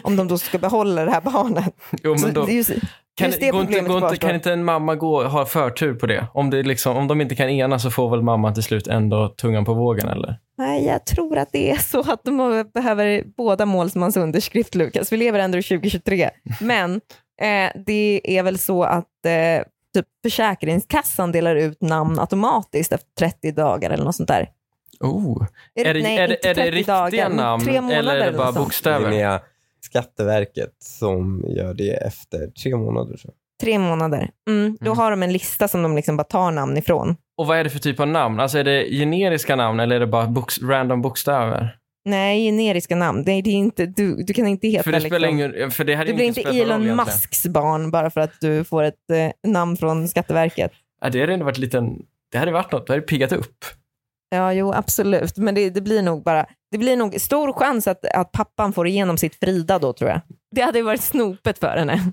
Om de då ska behålla det här barnet.
Jo,
Så
men då,
Alltså, det är ju,
kan,
just det
går inte,
problemet
går inte,
kvarstår.
kan inte en mamma gå, ha förtur på det? Om, det liksom, om de inte kan enas så får väl mamma till slut ändå tungan på vågen eller?
Nej, jag tror att det är så att de behöver båda målsmans underskrift, Lukas. Vi lever ändå i 2023. Men eh, det är väl så att eh, typ Försäkringskassan delar ut namn automatiskt efter 30 dagar eller något sånt där.
Oh. Är det,
nej,
är
inte
det, är det
30
riktiga
dagar, men
namn
tre månader
eller är det bara
något sånt.
bokstäver?
Linnea, Skatteverket som gör det efter tre månader. Så.
Tre månader. Mm, då
Mm.
har de en lista som de liksom bara tar namn ifrån.
Och vad är det för typ av namn? Alltså är det generiska namn eller är det bara boks- random bokstäver?
Nej, generiska namn. Det, är- det är inte, du, du kan inte heta...
För det
liksom-
spelar ingen för det hade
du
ju
blir
inte
inte
spelat någon roll
Elon
egentligen.
Musks barn bara för att du får ett eh, namn från Skatteverket.
Ja, det hade ändå varit liten, det hade varit något, det hade piggat upp.
Ja, jo, absolut. Men det, det blir nog bara... Det blir nog stor chans att, att pappan får igenom sitt Frida då, tror jag. Det hade ju varit snopet för henne.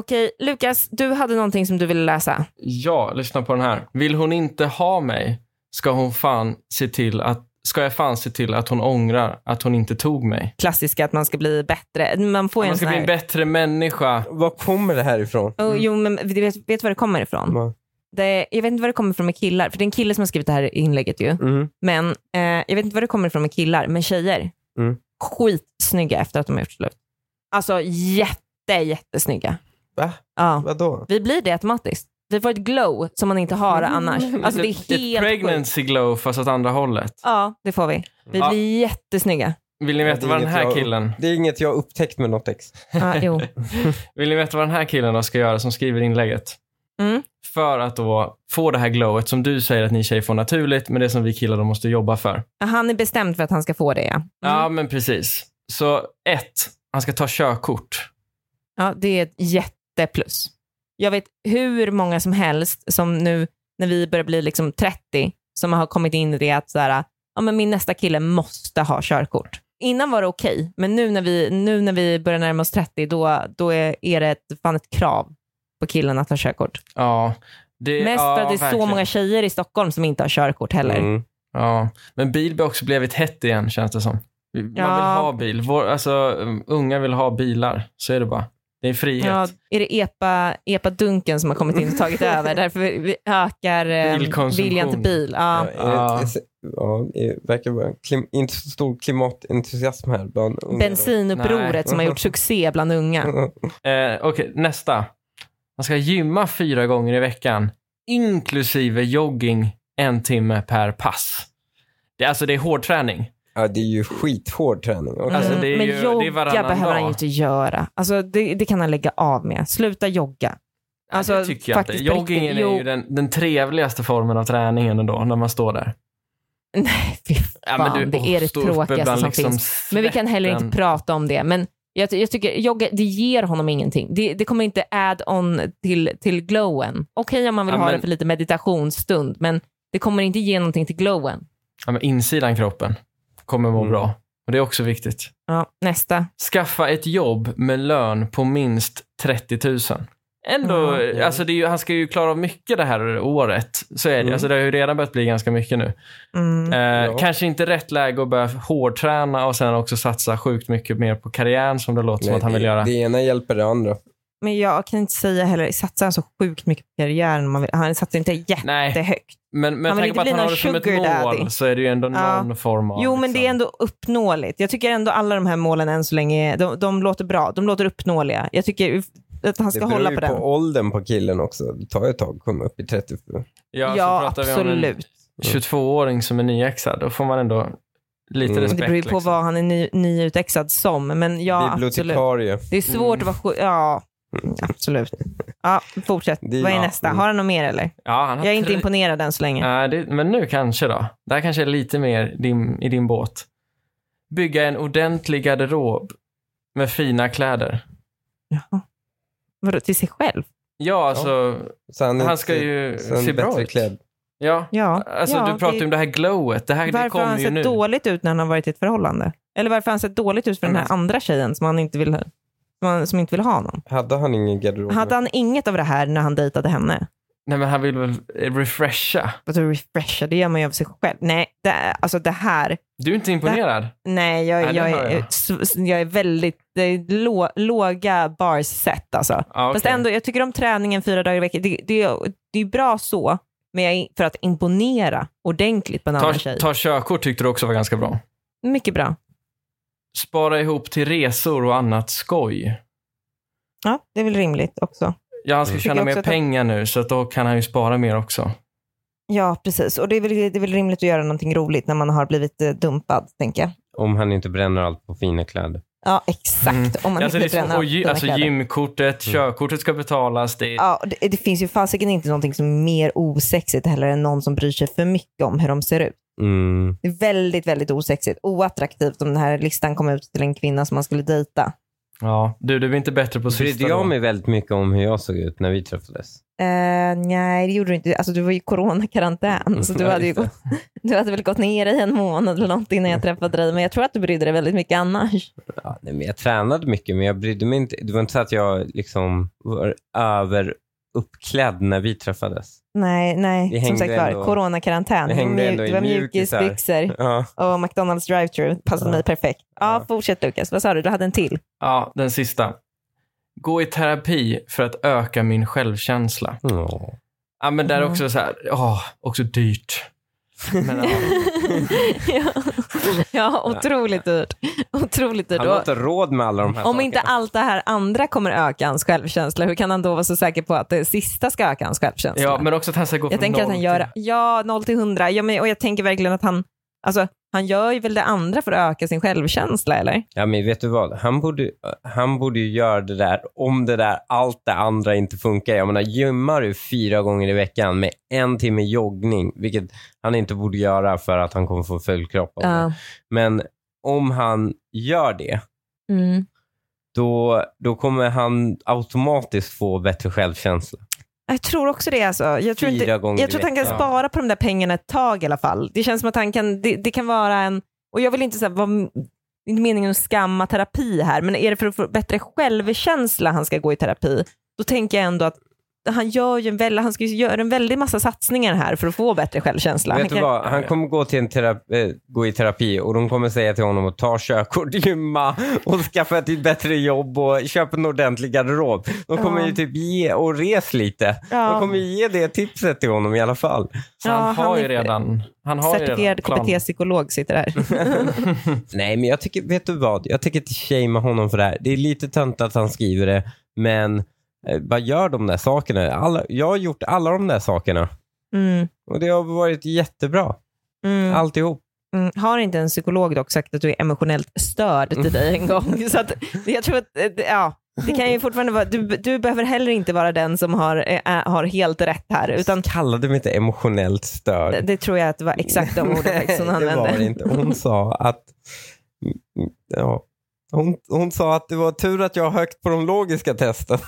Okej, Lukas, du hade någonting som du ville läsa.
Ja, lyssna på den här. Vill hon inte ha mig ska hon fan se till att, ska jag fan se till att hon ångrar att hon inte tog mig.
Klassiska att man ska bli bättre. Man får ju
Man
en
ska
sån
bli en
här...
bättre Mm. människa.
Var kommer det här ifrån?
Oh, jo, men du vet, vet du var det kommer ifrån?
Va?
Det, jag vet inte var det kommer ifrån med killar, för det är en kille som har skrivit det här inlägget ju.
Mm.
Men eh, jag vet inte var det kommer ifrån med killar, men tjejer,
Mm.
skitsnygga efter att de har gjort slut. Alltså jätte, jättesnygga.
Va?
Ja.
Vadå?
Vi blir det automatiskt. Vi får ett glow som man inte har
Mm.
annars. Alltså det är
Ett
helt sjukt.
pregnancy glow fast åt andra hållet.
Ja, det får vi. Vi
Ja.
blir jättesnygga.
Vill ni
Ja,
veta
det är
vad den
inget
här
jag-
killen
Det är inget jag har upptäckt med något ex.
Ja, jo.
Vill ni veta vad den här killen då ska göra som skriver inlägget?
Mm.
För att då få det här glowet som du säger att ni tjejer får naturligt, men det som vi killar då måste jobba för.
Ja, Han är bestämd för att han ska få det, ja.
Ja,
Mm.
men precis. Så ett, han ska ta körkort.
ja det är ett jätteplus. Jag vet hur många som helst som nu när vi börjar bli liksom 30 som har kommit in i det att så här, ja, men min nästa kille måste ha körkort. Innan var det okej, men nu när vi, nu när vi börjar närma oss 30 då, då är, är det ett, fan ett krav på killen att ha körkort.
Ja, det,
Mest
ja,
för att det är så
verkligen.
många tjejer i Stockholm som inte har körkort heller.
Mm.
Ja, men bil har också blivit hett igen känns det som. Man
Ja.
vill ha bil. Vår, alltså, um, unga vill ha bilar. Så är det bara. Det är en frihet.
Ja, är det EPA, EPA-dunken som har kommit in och tagit över? Därför vi- vi ökar eh,
Bilkonsumtion.
viljan till bil. Ja.
Ja, är det, ja, det verkar vara en klim, inte så stor klimatentusiasm här bland unga.
Bensinupproret
Nej.
som har gjort succé bland unga.
Eh, Okej, nästa. Man ska gymma fyra gånger i veckan, inklusive jogging en timme per pass. Det, alltså det är hård träning.
Ja, det är ju skithård träning. också.
Alltså,
Mm.
det är
Men
ju- det är
jogga
varannan
behöver han
dag.
ju inte göra. Alltså, det, det kan han lägga av med. Sluta jogga. Alltså,
det tycker jag inte.
faktiskt på
Joggingen
riktigt.
är
Jo.
ju den, den trevligaste formen av träningen ändå, när man står där.
Nej, fy fan,
du,
det
åh,
är det
stå uppe
tråkigaste
bland
som
liksom
finns. Men vi kan heller
svetten.
inte prata om det. Men jag, ty- jag tycker jogga, det ger honom ingenting. Det, det kommer inte add-on till, till glowen. Okej om man vill
Ja,
ha
men-
det för lite meditationsstund, men det kommer inte ge någonting till glowen.
Ja, men insidan kroppen kommer må
Mm.
bra. Och det är också viktigt.
Ja, nästa.
Skaffa ett jobb med lön på minst 30 000. Ändå,
Mm.
alltså det är ju, han ska ju klara av mycket det här året. Så är det.
Mm.
Alltså det har ju redan börjat bli ganska mycket nu.
Mm.
Eh,
Ja.
Kanske inte rätt läge att börja hårdträna och sen också satsa sjukt mycket mer på karriären som det låter som
Nej,
att han vill
det,
göra.
det ena hjälper det andra.
Men jag kan inte säga heller, satsar han så sjukt mycket på karriären? Man vill, han satsar inte
Nej,
jättehögt.
men men
Han vill
tänk
inte
på att
bli
han har
någon
det som ett
sugar
mål
daddy.
så är det ju ändå
Ja.
någon form av...
Jo, men det är
liksom-
ändå uppnåeligt. Jag tycker ändå alla de här målen än så länge, de, de låter bra. De låter uppnåeliga. Jag tycker att han ska
det beror
hålla
ju
på den.
på åldern på killen också. Det tar ju ett tag att komma upp i 30.
Ja,
ja,
så pratar vi om en
absolut.
22-åring som är nyexad. Då får man ändå lite
Mm.
Det
respekt.
beror ju på
liksom.
vad han är ny, nyutexad som, men ja, absolut.
Bibliotekarie.
Det är svårt att vara sjuk. Ja, absolut. Ja, fortsätt.
Det-
Vad är
ja,
nästa?
mm.
Har han något mer eller?
Ja, han har
Jag är inte
tre-
imponerad än så länge.
Nej, det, men nu kanske då. Det här kanske är lite mer din, i din båt. Bygga en ordentlig garderob med fina kläder.
Jaha. Vadå, till sig själv?
Ja, alltså,
Så han, är
han
inte-
ska ju
så han är
se bra
bättre
ut.
klädd.
Ja,
Ja.
alltså
ja,
du pratar ju
det-
om det här glowet. Det här det
Varför har
kommer
han
ju
sett
nu.
dåligt ut när han har varit i ett förhållande? Eller varför har han sett dåligt ut för den
Men
här andra tjejen som, han inte vill, som, han, som inte vill ha honom?
Hade han ingen garderob?
Hade han inget av det här när han dejtade henne?
Nej, men han vill väl eh, refresha.
Att refresha, det gör man ju av sig själv. Nej, det, alltså det här.
Du är inte imponerad?
Nej, jag,
Nej, det
jag,
hör
är, eh,
jag.
s- s- jag är väldigt det är lå, låga bars set alltså.
Ja,
Fast
okej.
ändå, jag tycker om träningen fyra dagar i veckan. Det, det, det är bra så, men jag är för att imponera ordentligt på en annan
ta,
tjej.
ta körkort tyckte du också var ganska bra.
Mycket bra.
Spara ihop till resor och annat skoj.
Ja, det är väl rimligt också.
Ja, han ska
Mm. Tycker
tjäna
jag
mer
också att han-
pengar nu, så att då kan han ju spara mer också.
Ja, precis. Och det är, väl, det är väl rimligt att göra någonting roligt när man har blivit eh, dumpad, tänker jag.
Om han inte bränner allt på fina kläder.
Ja, exakt.
Mm.
Om man
alltså, det
inte
är så,
bränner
och,
upp
gy-
sina
alltså
kläder.
gymkortet,
Mm.
körkortet ska betalas. Det är
Ja, och det, det finns ju fasiken inte någonting som är mer osexigt heller än någon som bryr sig för mycket om hur de ser ut.
Mm.
Det är väldigt, väldigt osexigt. Oattraktivt om den här listan kom ut till en kvinna som man skulle dejta.
Ja, du, du blir inte bättre på
Brydde
sista
jag
då.
mig väldigt mycket om hur jag såg ut när vi träffades?
Eh, nej, det gjorde du inte. Alltså, du var ju i coronakarantän, så du
Ja,
hade, ju
just det.
gått, du hade väl gått ner i en månad eller något innan jag träffade dig, men jag tror att du brydde dig väldigt mycket annars.
Ja, nej, men jag tränade mycket, men jag brydde mig inte. Det var inte så att jag liksom var överuppklädd när vi träffades.
Nej,
Vi
nej, som
hängde
sagt var,
ändå-
coronakarantän.
vi hängde ändå i
det var
mjukisar.
mjukisbyxor
Ja.
och McDonalds drive-thru passade
Ja.
mig perfekt. Ja,
Ja.
fortsätt Lukas. Vad sa du? Du hade en till.
Ja, den sista. Gå i terapi för att öka min självkänsla.
Ja.
Ja, men där
Mm.
också så här, ja, också dyrt. Men, ja.
ja. ja, otroligt dyrt. Otroligt dyrt.
Han har
Och-
inte råd med alla de här
Om
sakerna.
inte allt det här andra kommer öka hans självkänsla, hur kan han då vara så säker på att det sista ska öka hans självkänsla?
ja, men också att han ska gå
jag
från
tänker att
noll
han gör,
till-
ja, 0 till 100. Ja, men, och jag tänker verkligen att han, alltså, han gör ju väl det andra för att öka sin självkänsla, eller?
Ja, men vet du vad? Han borde, han borde ju göra det där om det där allt det andra inte funkar. Jag menar, gymmar du fyra gånger i veckan med en timme joggning, vilket han inte borde göra för att han kommer få full kropp av det.
Ja.
Men om han gör det,
Mm.
då, då kommer han automatiskt få bättre självkänsla.
Jag tror också det. Alltså. Jag, tror
Fyra
inte,
gånger
jag tror att han
i
kan
veckan.
spara på de där pengarna ett tag i alla fall. Det känns som att han kan, det, det kan vara en, och jag vill inte säga vad det är inte meningen att skamma terapi här, men är det för att få bättre självkänsla han ska gå i terapi, då tänker jag ändå att han, gör ju en väl, han ska ju göra en väldig massa satsningar här för att få bättre självkänsla. Han
Vet du
kan-
vad? Han
ja.
kommer gå, till en terapi, eh, gå i terapi och de kommer säga till honom att ta körkort, gymma och skaffa ett bättre jobb och köpa en ordentlig garderob. De kommer
Ja.
ju typ ge och res lite. De
Ja.
kommer ju ge det tipset till honom i alla fall.
Så han,
Ja,
har
han
ju
är-
redan... Han har ju redan
Certifierad
planen.
KBT-psykolog sitter här.
Nej, men jag tycker, vet du vad? Jag tycker inte shamea honom för det här. Det är lite tönt att han skriver det, men eh, bara gör de där sakerna. Alla, jag har gjort alla de där sakerna
Mm,
och det har varit jättebra,
mm,
alltihop.
mm. Har inte
Mm.
en psykolog dock sagt att du är emotionellt störd till dig en gång? Så att, jag tror att, eh, det- ja, Det kan ju fortfarande vara, du, du behöver heller inte vara den som har, eh, äh, har helt rätt här, utan
Kallade mig inte emotionellt
det,
störd.
det tror jag att det var exakt de orden faktiskt hon
Nej, det var det
använde.
inte. Hon sa att... Ja, hon, hon sa att det var tur att jag har högt på de logiska testen.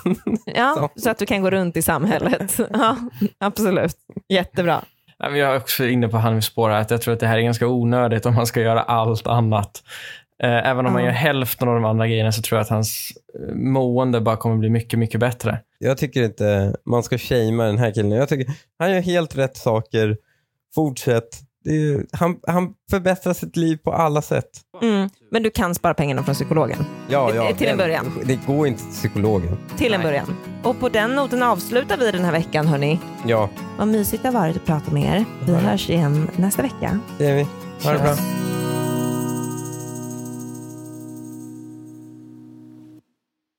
Ja, så att du kan gå runt i samhället. Ja, absolut. Jättebra.
Nej, men jag är också inne på Hanifs spår här, att jag tror att det här är ganska onödigt om man ska göra allt annat. Eh, även om man
Ja.
gör hälften av de andra grejerna så tror jag att hans eh, mående bara kommer bli mycket, mycket bättre.
Jag tycker inte man ska shamea den här killen. Jag tycker han gör helt rätt saker. Fortsätt. Det är, han, han förbättrar sitt liv på alla sätt.
Mm. Men du kan spara pengarna från psykologen.
Ja, ja,
Till en
den-
början.
Det går inte till psykologen.
Till en
Nej.
början. Och på den noten avslutar vi den här veckan, hörni.
Ja,
Vad mysigt det har varit att prata med er. Vi hörs igen nästa vecka.
det är vi. Ha det bra.
Känns-